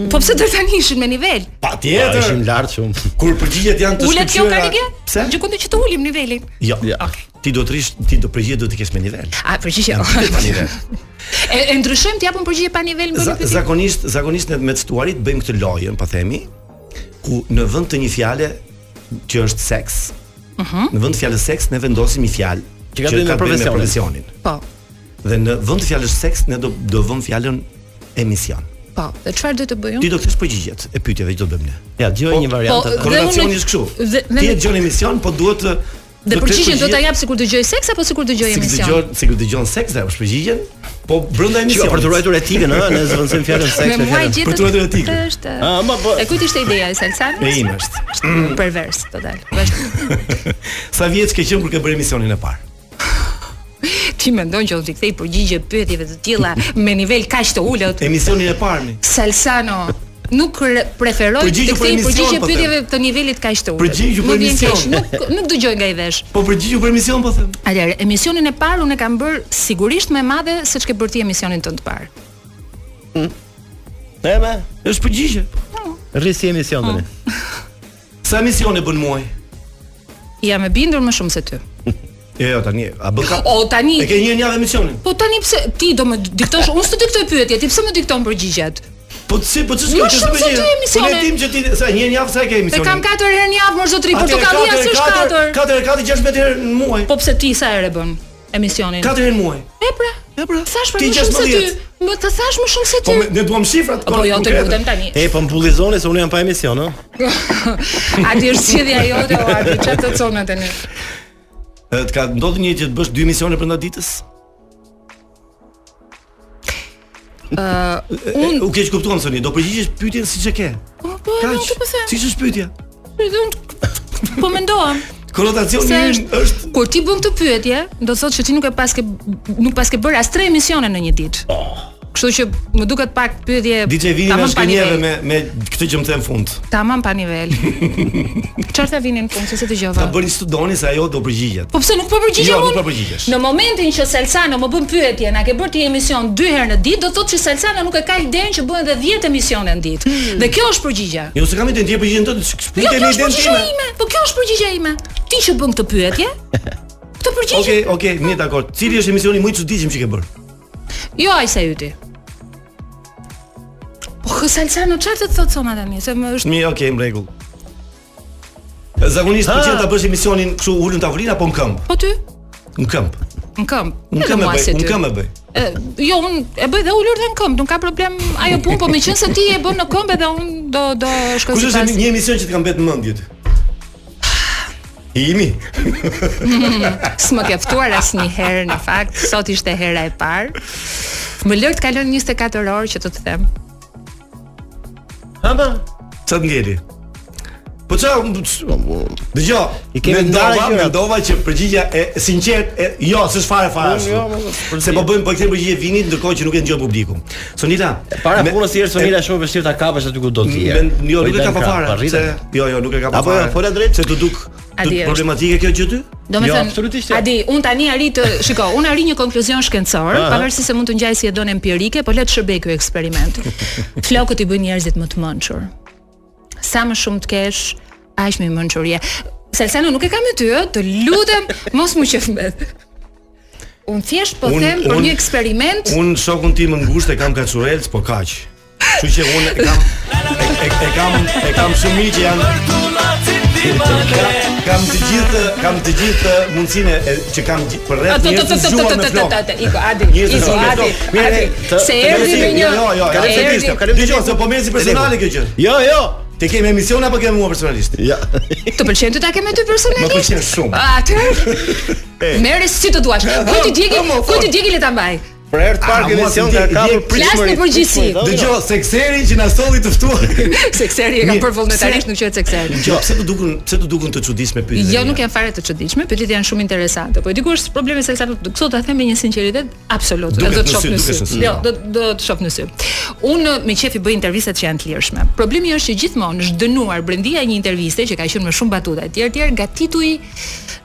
Po pse do tani ishin me nivel?
Patjetër.
Ishim lart shumë.
Kur përgjigjet janë të shkëlqyera.
Ulet kjo kalege? Pse? Gjikundi që të ulim nivelin.
Jo. Ja. Ti do të rish, ti do përgjigjet do të kesh me nivel.
A përgjigje pa nivel. E, e ndryshojmë ti japim përgjigje pa nivel
më pyetje. Zakonisht, zakonisht ne me cituarit bëjmë këtë lojën, po themi, ku në vend të një fjale që është seks, uh
Mhm.
-huh. në vend të fjalës seks ne vendosim një fjalë
që ka të bëjë me profesionin. profesionin.
Po.
Dhe në vend të fjalës seks ne do do vëmë fjalën emision.
Po, dhe çfarë do të bëjmë? Po,
Ti do të kesh përgjigjet e pyetjeve që do bëjmë ne.
Ja, dëgjoj po, një variant. Po,
Korrelacioni është kështu. Ti e dëgjon emision, po duhet të
Dhe përgjigjen do ta jap sikur dëgjoj seks apo sikur dëgjoj emision?
Sikur dëgjon, sikur dëgjon seks apo përgjigjen, po brenda emisionit.
Jo, për të ruajtur etikën, ëh, ne zvendësojmë fjalën seks.
Me mua gjetë.
Për të ruajtur etikën.
Është. Ëh, po po. E kujt ishte ideja e Salsanit?
Ah, E ime është.
Pervers total. Vazhdo.
Sa vjeç ke qenë kur ke bërë emisionin e parë?
Ti mendon që do të kthej përgjigje pyetjeve të tilla me nivel kaq të ulët?
Emisionin e parë.
Salsano, nuk preferoj të kthej përgjigje pyetjeve të nivelit kaq të ulët.
Përgjigju po për emision.
Nuk nuk dëgjoj nga i vesh.
Po përgjigju për emision po them.
Atëherë, emisionin e parë unë e kam bër sigurisht më madhe se ç'ke bërti emisionin tënd të parë.
Mm. Ema,
është përgjigje.
Rrisi emision tani.
Sa emisione bën muaj?
Jam e bindur më shumë se ty.
Jo, jo, tani, a bën kap.
O tani.
E ke një javë emisionin.
Po tani pse ti do më diktosh, unë s'të diktoj pyetjet, ti pse më dikton përgjigjet?
Po të si, po të
s'ka të bëjë. Po
ne tim që ti sa një javë sa e ke emisionin.
E kam po 4 herë në javë, mor zotri, portokallia s'është 4.
4 4 16 herë në muaj.
Po pse ti sa herë bën emisionin?
4 herë në muaj.
E pra.
E pra.
Thash për më shumë se ty. Më të thash më shumë se ty.
Po ne duam shifrat.
Po jo, të lutem tani.
E po mbullizoni se unë jam pa emision, ëh.
A ti është sjellja jote o a ti çfarë të çon tani?
Të ka ndodhur një që të bësh dy misione brenda ditës?
Ë, un
u keq kuptuam soni, do përgjigjesh pyetjen siç e ke.
Po, po, po.
Siç është pyetja?
Po mendoam.
Konotacioni është, Mm, është
kur ti bën këtë pyetje, do të thotë që ti nuk e pas ke nuk pas ke bërë as tre emisione në një ditë.
Oh.
Kështu që më duket pak pyetje
DJ Vini na shkënjeve me me këtë që më them fund.
Tamam pa nivel. Çfarë ta vinin në fund se dëgjova.
Ta bëni studoni se ajo do përgjigjet.
Po pse nuk po përgjigjem
unë? Jo, nuk po përgjigjesh.
Në momentin që Salsano më bën pyetje, na ke bërë ti emision 2 herë në ditë, do thotë që Salsano nuk e ka idenë që bëhen edhe 10 emisione në ditë. Hmm. Dhe kjo është përgjigja.
Jo, se kam idenë ti përgjigjen tonë,
jo, kjo është përgjigja ime. Po kjo është përgjigja ime. Ti që bën këtë pyetje? Këtë përgjigje.
Okej, okej, mirë dakor. Cili është emisioni më i çuditshëm që ke bërë?
Jo ai sa yti. Po hë Salsano çfarë të thotë Soma tani? Se më është
Mirë, okay, në rregull. Zakonisht pëlqen ta bësh emisionin kështu ulën tavolinë apo në këmbë?
Po ty?
Në këmbë.
Në këmbë.
Në këmbë e bëj, në këmbë e bëj.
Jo, unë e bëj dhe ulur dhe në këmbë, nuk ka problem ajo punë, po meqense ti e bën në këmbë dhe unë do do shkoj
sipas. Kush është një emision që të ka mbet në mendje ti? Imi.
S'më ke ftuar asnjëherë në fakt, sot ishte hera e parë. Më lër të kalon 24 orë që të të them.
Ha ba. Çat ngeli. Po ç'a dëgjoj.
I kemi
mendova,
ndarë gjërat.
mendova që përgjigjja e sinqert e jo, s'është fare fare.
Unë
ashtu.
jo, më-
se po bëjmë po kthejmë përgjigje vinit ndërkohë që nuk e dëgjon publiku. Sonita,
Para
me-
punës i erë Sonila shumë e vështirë ta kapësh aty ku do Po të je.
Men- Jo, nuk e ka pa fare.
Arritë.
se- Jo, jo, nuk e ka pa
Apo
fare.
jo, fola drejt
se të duk të
Adi,
duk
është-
problematike kjo gjë ty?
Do me
Jo,
thënë,
absolutisht jo.
Adi, unë tani arri të, shiko, unë arri një konkluzion shkencor,
Aha.
pavarësisht se mund të ngjaj si e donë empirike, po le të shërbej ky eksperiment. Flokët i bëjnë njerëzit më të mençur. Sa më shumë të kesh, aq më mençurie. Salsano nuk e kam me ty, ë, të lutem, mos më qef mbet. Unë thjesht po
Unë-
them për
unë-
një eksperiment.
Un shokun tim në ngushtë e kam kaçurelc, po kaq. Kështu që un e kam e, e, e kam e kam shumë mirë që janë Kam- kam të gjithë kam të gjithë mundësinë e- që kam gjith- për
A,
rreth
të- të-
njerëz të
të- të-
zgjuar
të-
me
të-
flok.
të- të- Iko, Adi,
Njerëz të
Iko,
zgjuar me
Adi,
flok. Mirë,
Adi,
të-
se
të
erdhi
kalojmë
me
si-
një-
Jo, jo, jo,
se
se
erdhi-
piste. Dëgjoj, se po merr si personale kjo gjë.
Jo, jo.
Ti kemi emision apo kemi mua personalisht?
Jo.
Të pëlqen të ta kem me ty personalisht?
Më pëlqen shumë.
Atë. Merre si të duash. Ku ti djegi, ku ti djegi le ta mbaj.
Për herë të parë
A,
këtë
mua
emision
si
ka
ndjek-
kapur
ndjek-
Flas në përgjithësi.
Dëgjoj, sekseri që na solli të ftuar.
Se kseri e kam
Mirë,
për vullnetarisht nuk qëhet se kseri.
Dëgjoj, Jo, pse të dukun, pse të dukun të çuditshme pyetjet?
Jo, nuk janë fare të çuditshme, pyetjet janë shumë interesante. Po diku është problemi se sa këto ta them me një sinqeritet absolut.
Duket
Do të
në
shoh
sy,
në
duket
sy.
në sy.
Jo, do do të shoh në sy. Unë me qef i bëj intervistat që janë të lirshme. Problemi është që gjithmonë është dënuar brendia e një interviste që ka qenë me shumë batuta etj etj nga titulli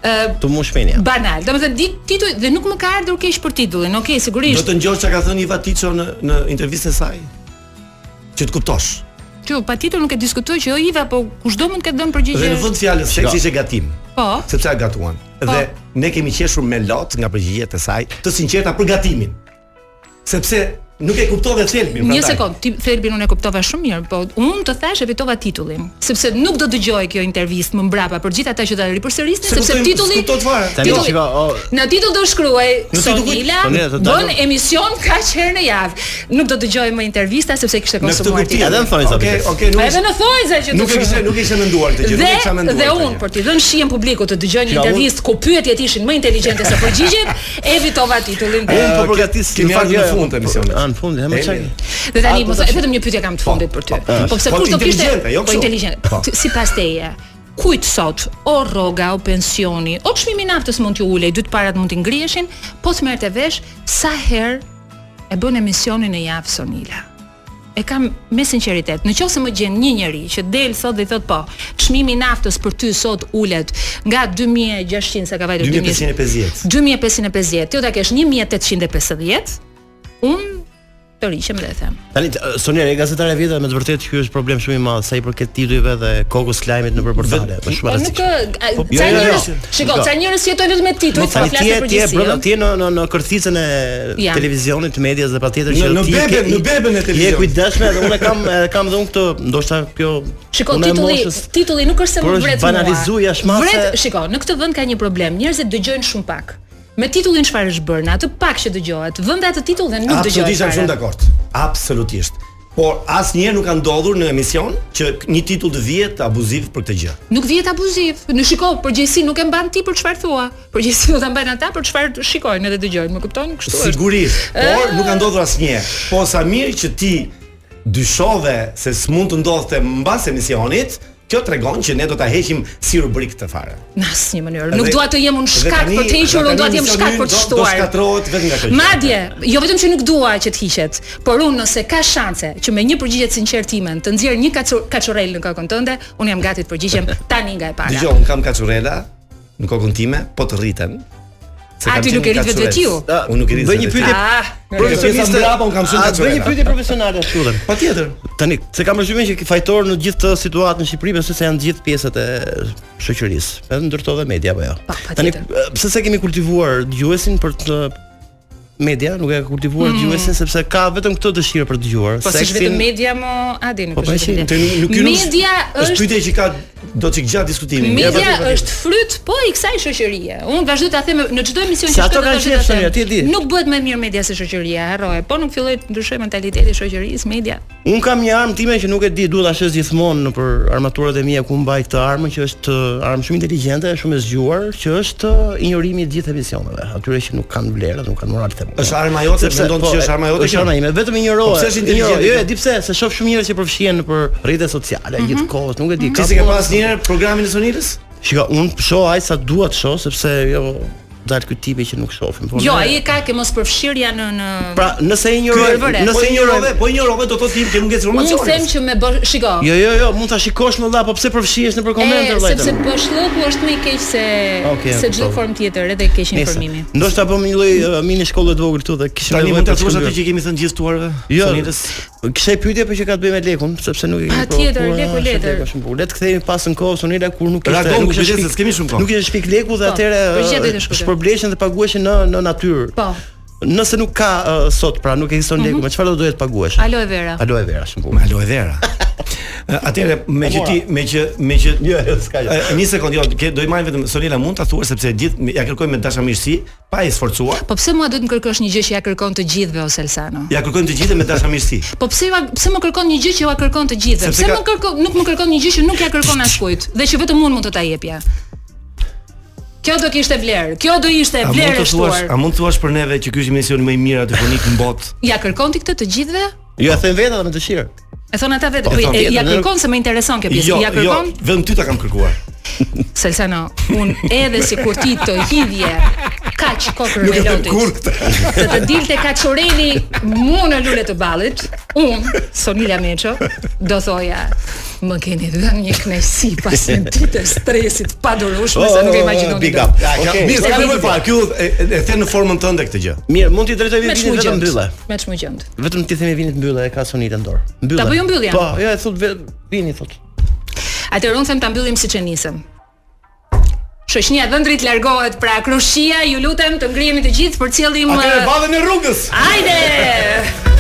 ë
Të mu shpenja.
banal. Domethënë di- titulli dhe nuk më ka ardhur keq për titullin. Okej,
Do
sigurisht.
të ngjosh çka ka thënë Iva Tiço në në intervistën e saj. Që të kuptosh.
Që patjetër nuk e diskutoj që jo Iva, po kushdo mund të ketë dhënë
Dhe në
përgjigje.
fund fjalës seksi ishte gatim,
Po.
sepse e gatuan.
Po.
Dhe ne kemi qeshur me lot nga përgjigjet e saj, të sinqerta për gatimin. Sepse nuk e kuptove thelmin
Një
prandaj.
sekond, ti Thelbin unë e kuptova shumë mirë, po unë të thash evitova titullin, sepse nuk do dëgjoj kjo intervistë më mbrapa për gjithë ata që ta ripërsërisni,
Se
sepse
kuptojmë-
titulli
s'kuptohet fare.
Tani
Titulli-
shiko, o,
Në titull do shkruaj
Nuk i duket-
Sonila
Sonila, të dalë-
bën emision kaq herë në javë. Nuk do dëgjoj më intervista sepse kishte
Në këtë
konsumuar
kuptim.
titullin.
Edhe në thonjza,
Okej,
bites.
okej,
Edhe në thonjza që të
Nuk e kishe nuk e kishe menduar këtë gjë, nuk e kisha
Dhe
menduar.
dhe
këtë
unë
gjë.
për t'i dhënë shihen publikut të dëgjojnë një
Kja, unë-
intervistë ku pyetjet ishin më inteligjente se po përgjigjet, evitova titullin.
Unë po
Ë,
përgatis
kemi
në fakt
ardhur në
jo, jo,
fund të emisionit.
A, në fund, ha më
E,
çaj.
Dhe tani
A,
mos
do të
vetëm një pyetje kam të fundit për ty.
po,
Po pse
po,
kush do kishte
inteligjente, jo
po
kështu. Po.
inteligjente. T- Sipas teje, kujt sot o rroga o pensioni, o çmimi i naftës mund t'ju ulej, dy të parat mund t'i ngriheshin, po të merrte vesh sa herë e bën emisionin në javë Sonila. E kam me sinqeritet. Në qoftë se më gjen një njeri që del sot dhe i thot po, çmimi i naftës për ty sot ulet nga 2600 sa ka vajtur 2000
2550.
2550, ti do Jo ta kesh 1850, unë të riqem dhe them.
Tani t- Sonia, e gazetare e vjetër me të vërtetë ky është problem shumë i madh sa i përket titujve dhe kokës lajmit nëpër portale. Është shumë
Po nuk
rastësisht.
ë,
Po,
ca
jo, jo, jo.
njerëz, shikoj,
Shiko.
ca njerëz jetojnë vetëm me tituj,
Po
pa
tani ti
flasë
je
për
ti je brenda
përgjithësi. jo?
ti je në në në kërthicën e
Jam.
televizionit, të medias dhe patjetër
Në-
që
në
ti je
bebe-
ke-
në beben e
Je
televizionit.
kujdesme dhe unë e kam e kam dhe unë këtë, ndoshta kjo
Shikoj
puna e
titulli,
moshës-
titulli nuk është se
Por
më
është
vret mua.
banalizu jashtë
Vret,
mase.
shikoj, në këtë vend ka një problem, njerëzit dëgjojnë shumë pak. Me titullin çfarë është bërë, në atë pak që dëgjohet, vënda atë titull dhe nuk dëgjohet.
Absolutisht jam shumë dakord. Absolutisht. Por asnjëherë nuk ka ndodhur në emision që një titull të vihet abuziv për këtë gjë.
Nuk vihet abuziv. Në shikoj, përgjegjësi nuk e mban ti për çfarë thua. Përgjegjësi do ta mbajnë ata për çfarë shikojnë edhe dëgjojnë, më kupton? Kështu është.
Sigurisht, por nuk ka ndodhur asnjëherë. Po sa mirë që ti dyshove se s'mund të ndodhte mbas emisionit, kjo tregon që ne do ta heqim si rubrik të fare.
Në asnjë mënyrë. Nuk
Dhe-
dua të jem unë
dhe
shkak
tani-
për të hequr,
dhe
unë dua të jem
tani
shkak për të
do- do
shtuar.
shkatërrohet vetëm nga kjo gjë.
Madje, jo vetëm që nuk dua që të hiqet, por unë nëse ka shanse që me një përgjigje të sinqertë timen të nxjerr një kacu- kaçurel në kokën tënde, unë jam gati të përgjigjem tani nga e para.
Dgjoj, un kam kaçurela në kokën time, po të rriten. Se
A,
kam
ti
qenë
nuk e rrit vetë
kaçurec.
vetiu?
A,
Unë nuk e rrit.
bëj një
vetë
pyetje
vetiu.
Ah,
Profesioniste mbrapa, un kam shumë
A,
kaçurela.
Bëj një pyetje profesionale ashtu dhe.
Patjetër.
Tani, se kam përshtypjen që fajtor në gjithë këtë situatë në Shqipëri besoj se janë të gjithë pjesët e shoqërisë, edhe ndërto dhe media apo jo.
Pa, pa
Tani,
tjetër.
pse se kemi kultivuar dëgjuesin për të media nuk e ka kultivuar dëgjuesin sepse ka vetëm këtë dëshirë për të dëgjuar.
Mm. Po siç vetëm media mo, a di nuk
Po,
është.
po,
vetëm
si-
Të
media.
nuk ky nuk
Media
është
është
pyetje që ka do të gjatë diskutimin.
Media është fryt po i kësaj shoqërie. Unë vazhdoj ta them në çdo emision
Se
që
ato
shkoj, do
kanë
vazhdoj
qef,
ta them.
Sonia, ti e di.
Nuk bëhet më mirë media se shoqëria, harroje. Po nuk filloi të ndryshoj mentaliteti i shoqërisë, media
Un kam një armë time që nuk e di, duhet ta shes gjithmonë nëpër armaturat e mia ku mbaj këtë armë që është uh, armë shumë inteligjente, shumë e zgjuar, që është uh, injorimi i gjithë emisioneve, atyre që nuk kanë vlerë, nuk kanë moral them
Është arma jote, mendon se është arma jote.
po,
Po,
Është arma ime, vetëm injorohet.
Pse është inteligjent?
Jo, e di pse, se shoh shumë njerëz që përfshihen nëpër rrjetet sociale, gjithkohës, nuk e di.
Ti s'e Mhm. ke pas njëherë programin e Sonilës?
Shiko, un shoh ai sa dua të shoh sepse jo dal ky tipi që nuk shohim.
Po jo, ai ka ke mos përfshirja në në
Pra, nëse injoroj, nëse injoroj,
po injorove do thotë ti nuk ke informacion.
Unë them që me bë, shiko.
Jo, jo, jo, mund ta shikosh më dha, po pse përfshihesh nëpër komente
vëllai? Sepse bashllëku është më i keq se okay, se
po.
çdo formë tjetër edhe keq informimi.
Ndoshta po një lloj mini shkollë të vogël këtu dhe kishim
Tani mund ta thuash atë që kemi thënë gjithë tuarve?
po, Jo. Kishe pyetje për që ka të bëjë me lekun, sepse nuk e po kemi.
Patjetër, leku letër.
Le të kthehemi pas në kohë sonila kur nuk
ishte. Ragon, nuk ishte, s'kemi shumë kohë.
Nuk ishte shpik leku
Po,
dhe atëre shpërbleshin dhe paguheshin në në natyrë.
Po. Mhm.
Nëse nuk ka uh, sot, pra nuk ekziston mm -hmm. leku, me çfarë do duhet të paguhesh?
Aloe vera.
Aloe vera, shumë
bukur. Aloe vera. Atëherë me që ti me që me që
jo, s'ka gjë.
Një sekondë, jo, ke do i marrim vetëm Sonila mund ta thuash sepse gjithë ja kërkojmë me dashamirësi, pa e sforcuar.
Po pse mua duhet të kërkosh një gjë që ja kërkon të gjithëve o Elsano?
Ja kërkojmë të gjithëve me dashamirësi.
Po pse pse më kërkon një gjë që ja kërkon të gjithëve? Pse ka... më kërkon nuk më kërkon një gjë që nuk ja kërkon askujt dhe që vetëm unë mund të ta jepja? Kjo do kishte vlerë. Kjo do ishte vlerë e shtuar.
A mund të thuash për neve që ky është emisioni më i mirë radiofonik në botë?
Ja kërkon ti këtë të gjithëve?
Ju ja them vetë me dëshirë.
E thon ata vetë. Po, ja kërkon se më intereson kjo pjesë.
Jo,
ja kërkon.
Jo, vetëm ty ta kam kërkuar.
Selsano, un edhe sikur ti të hidhje kaq kokën e lotit. Të të dilte kaq oreli mu në lule të ballit, un Sonila Meço do thoja më keni dhënë një kënaqësi pas një dite stresit pa durueshme se nuk e imagjinon.
Oh, Big up. Mirë, sa më fal, ky pra, e the në formën tënde këtë gjë.
Mirë, mund t'i drejtoj vinit vetëm mbyllë.
Me çmugjend.
Vetëm ti themi vinit mbyllë e ka sonitën dorë.
Mbyllë. Ta bëjmë mbylljen.
Po, jo, e thot vini thot.
Atëherë unë them ta mbyllim siç e nisëm. Shoqënia e Dhëndrit largohet pra Krushia, ju lutem të ngrihemi të gjithë për cëllim.
Atëherë badhen e rrugës.
eh, Hajde!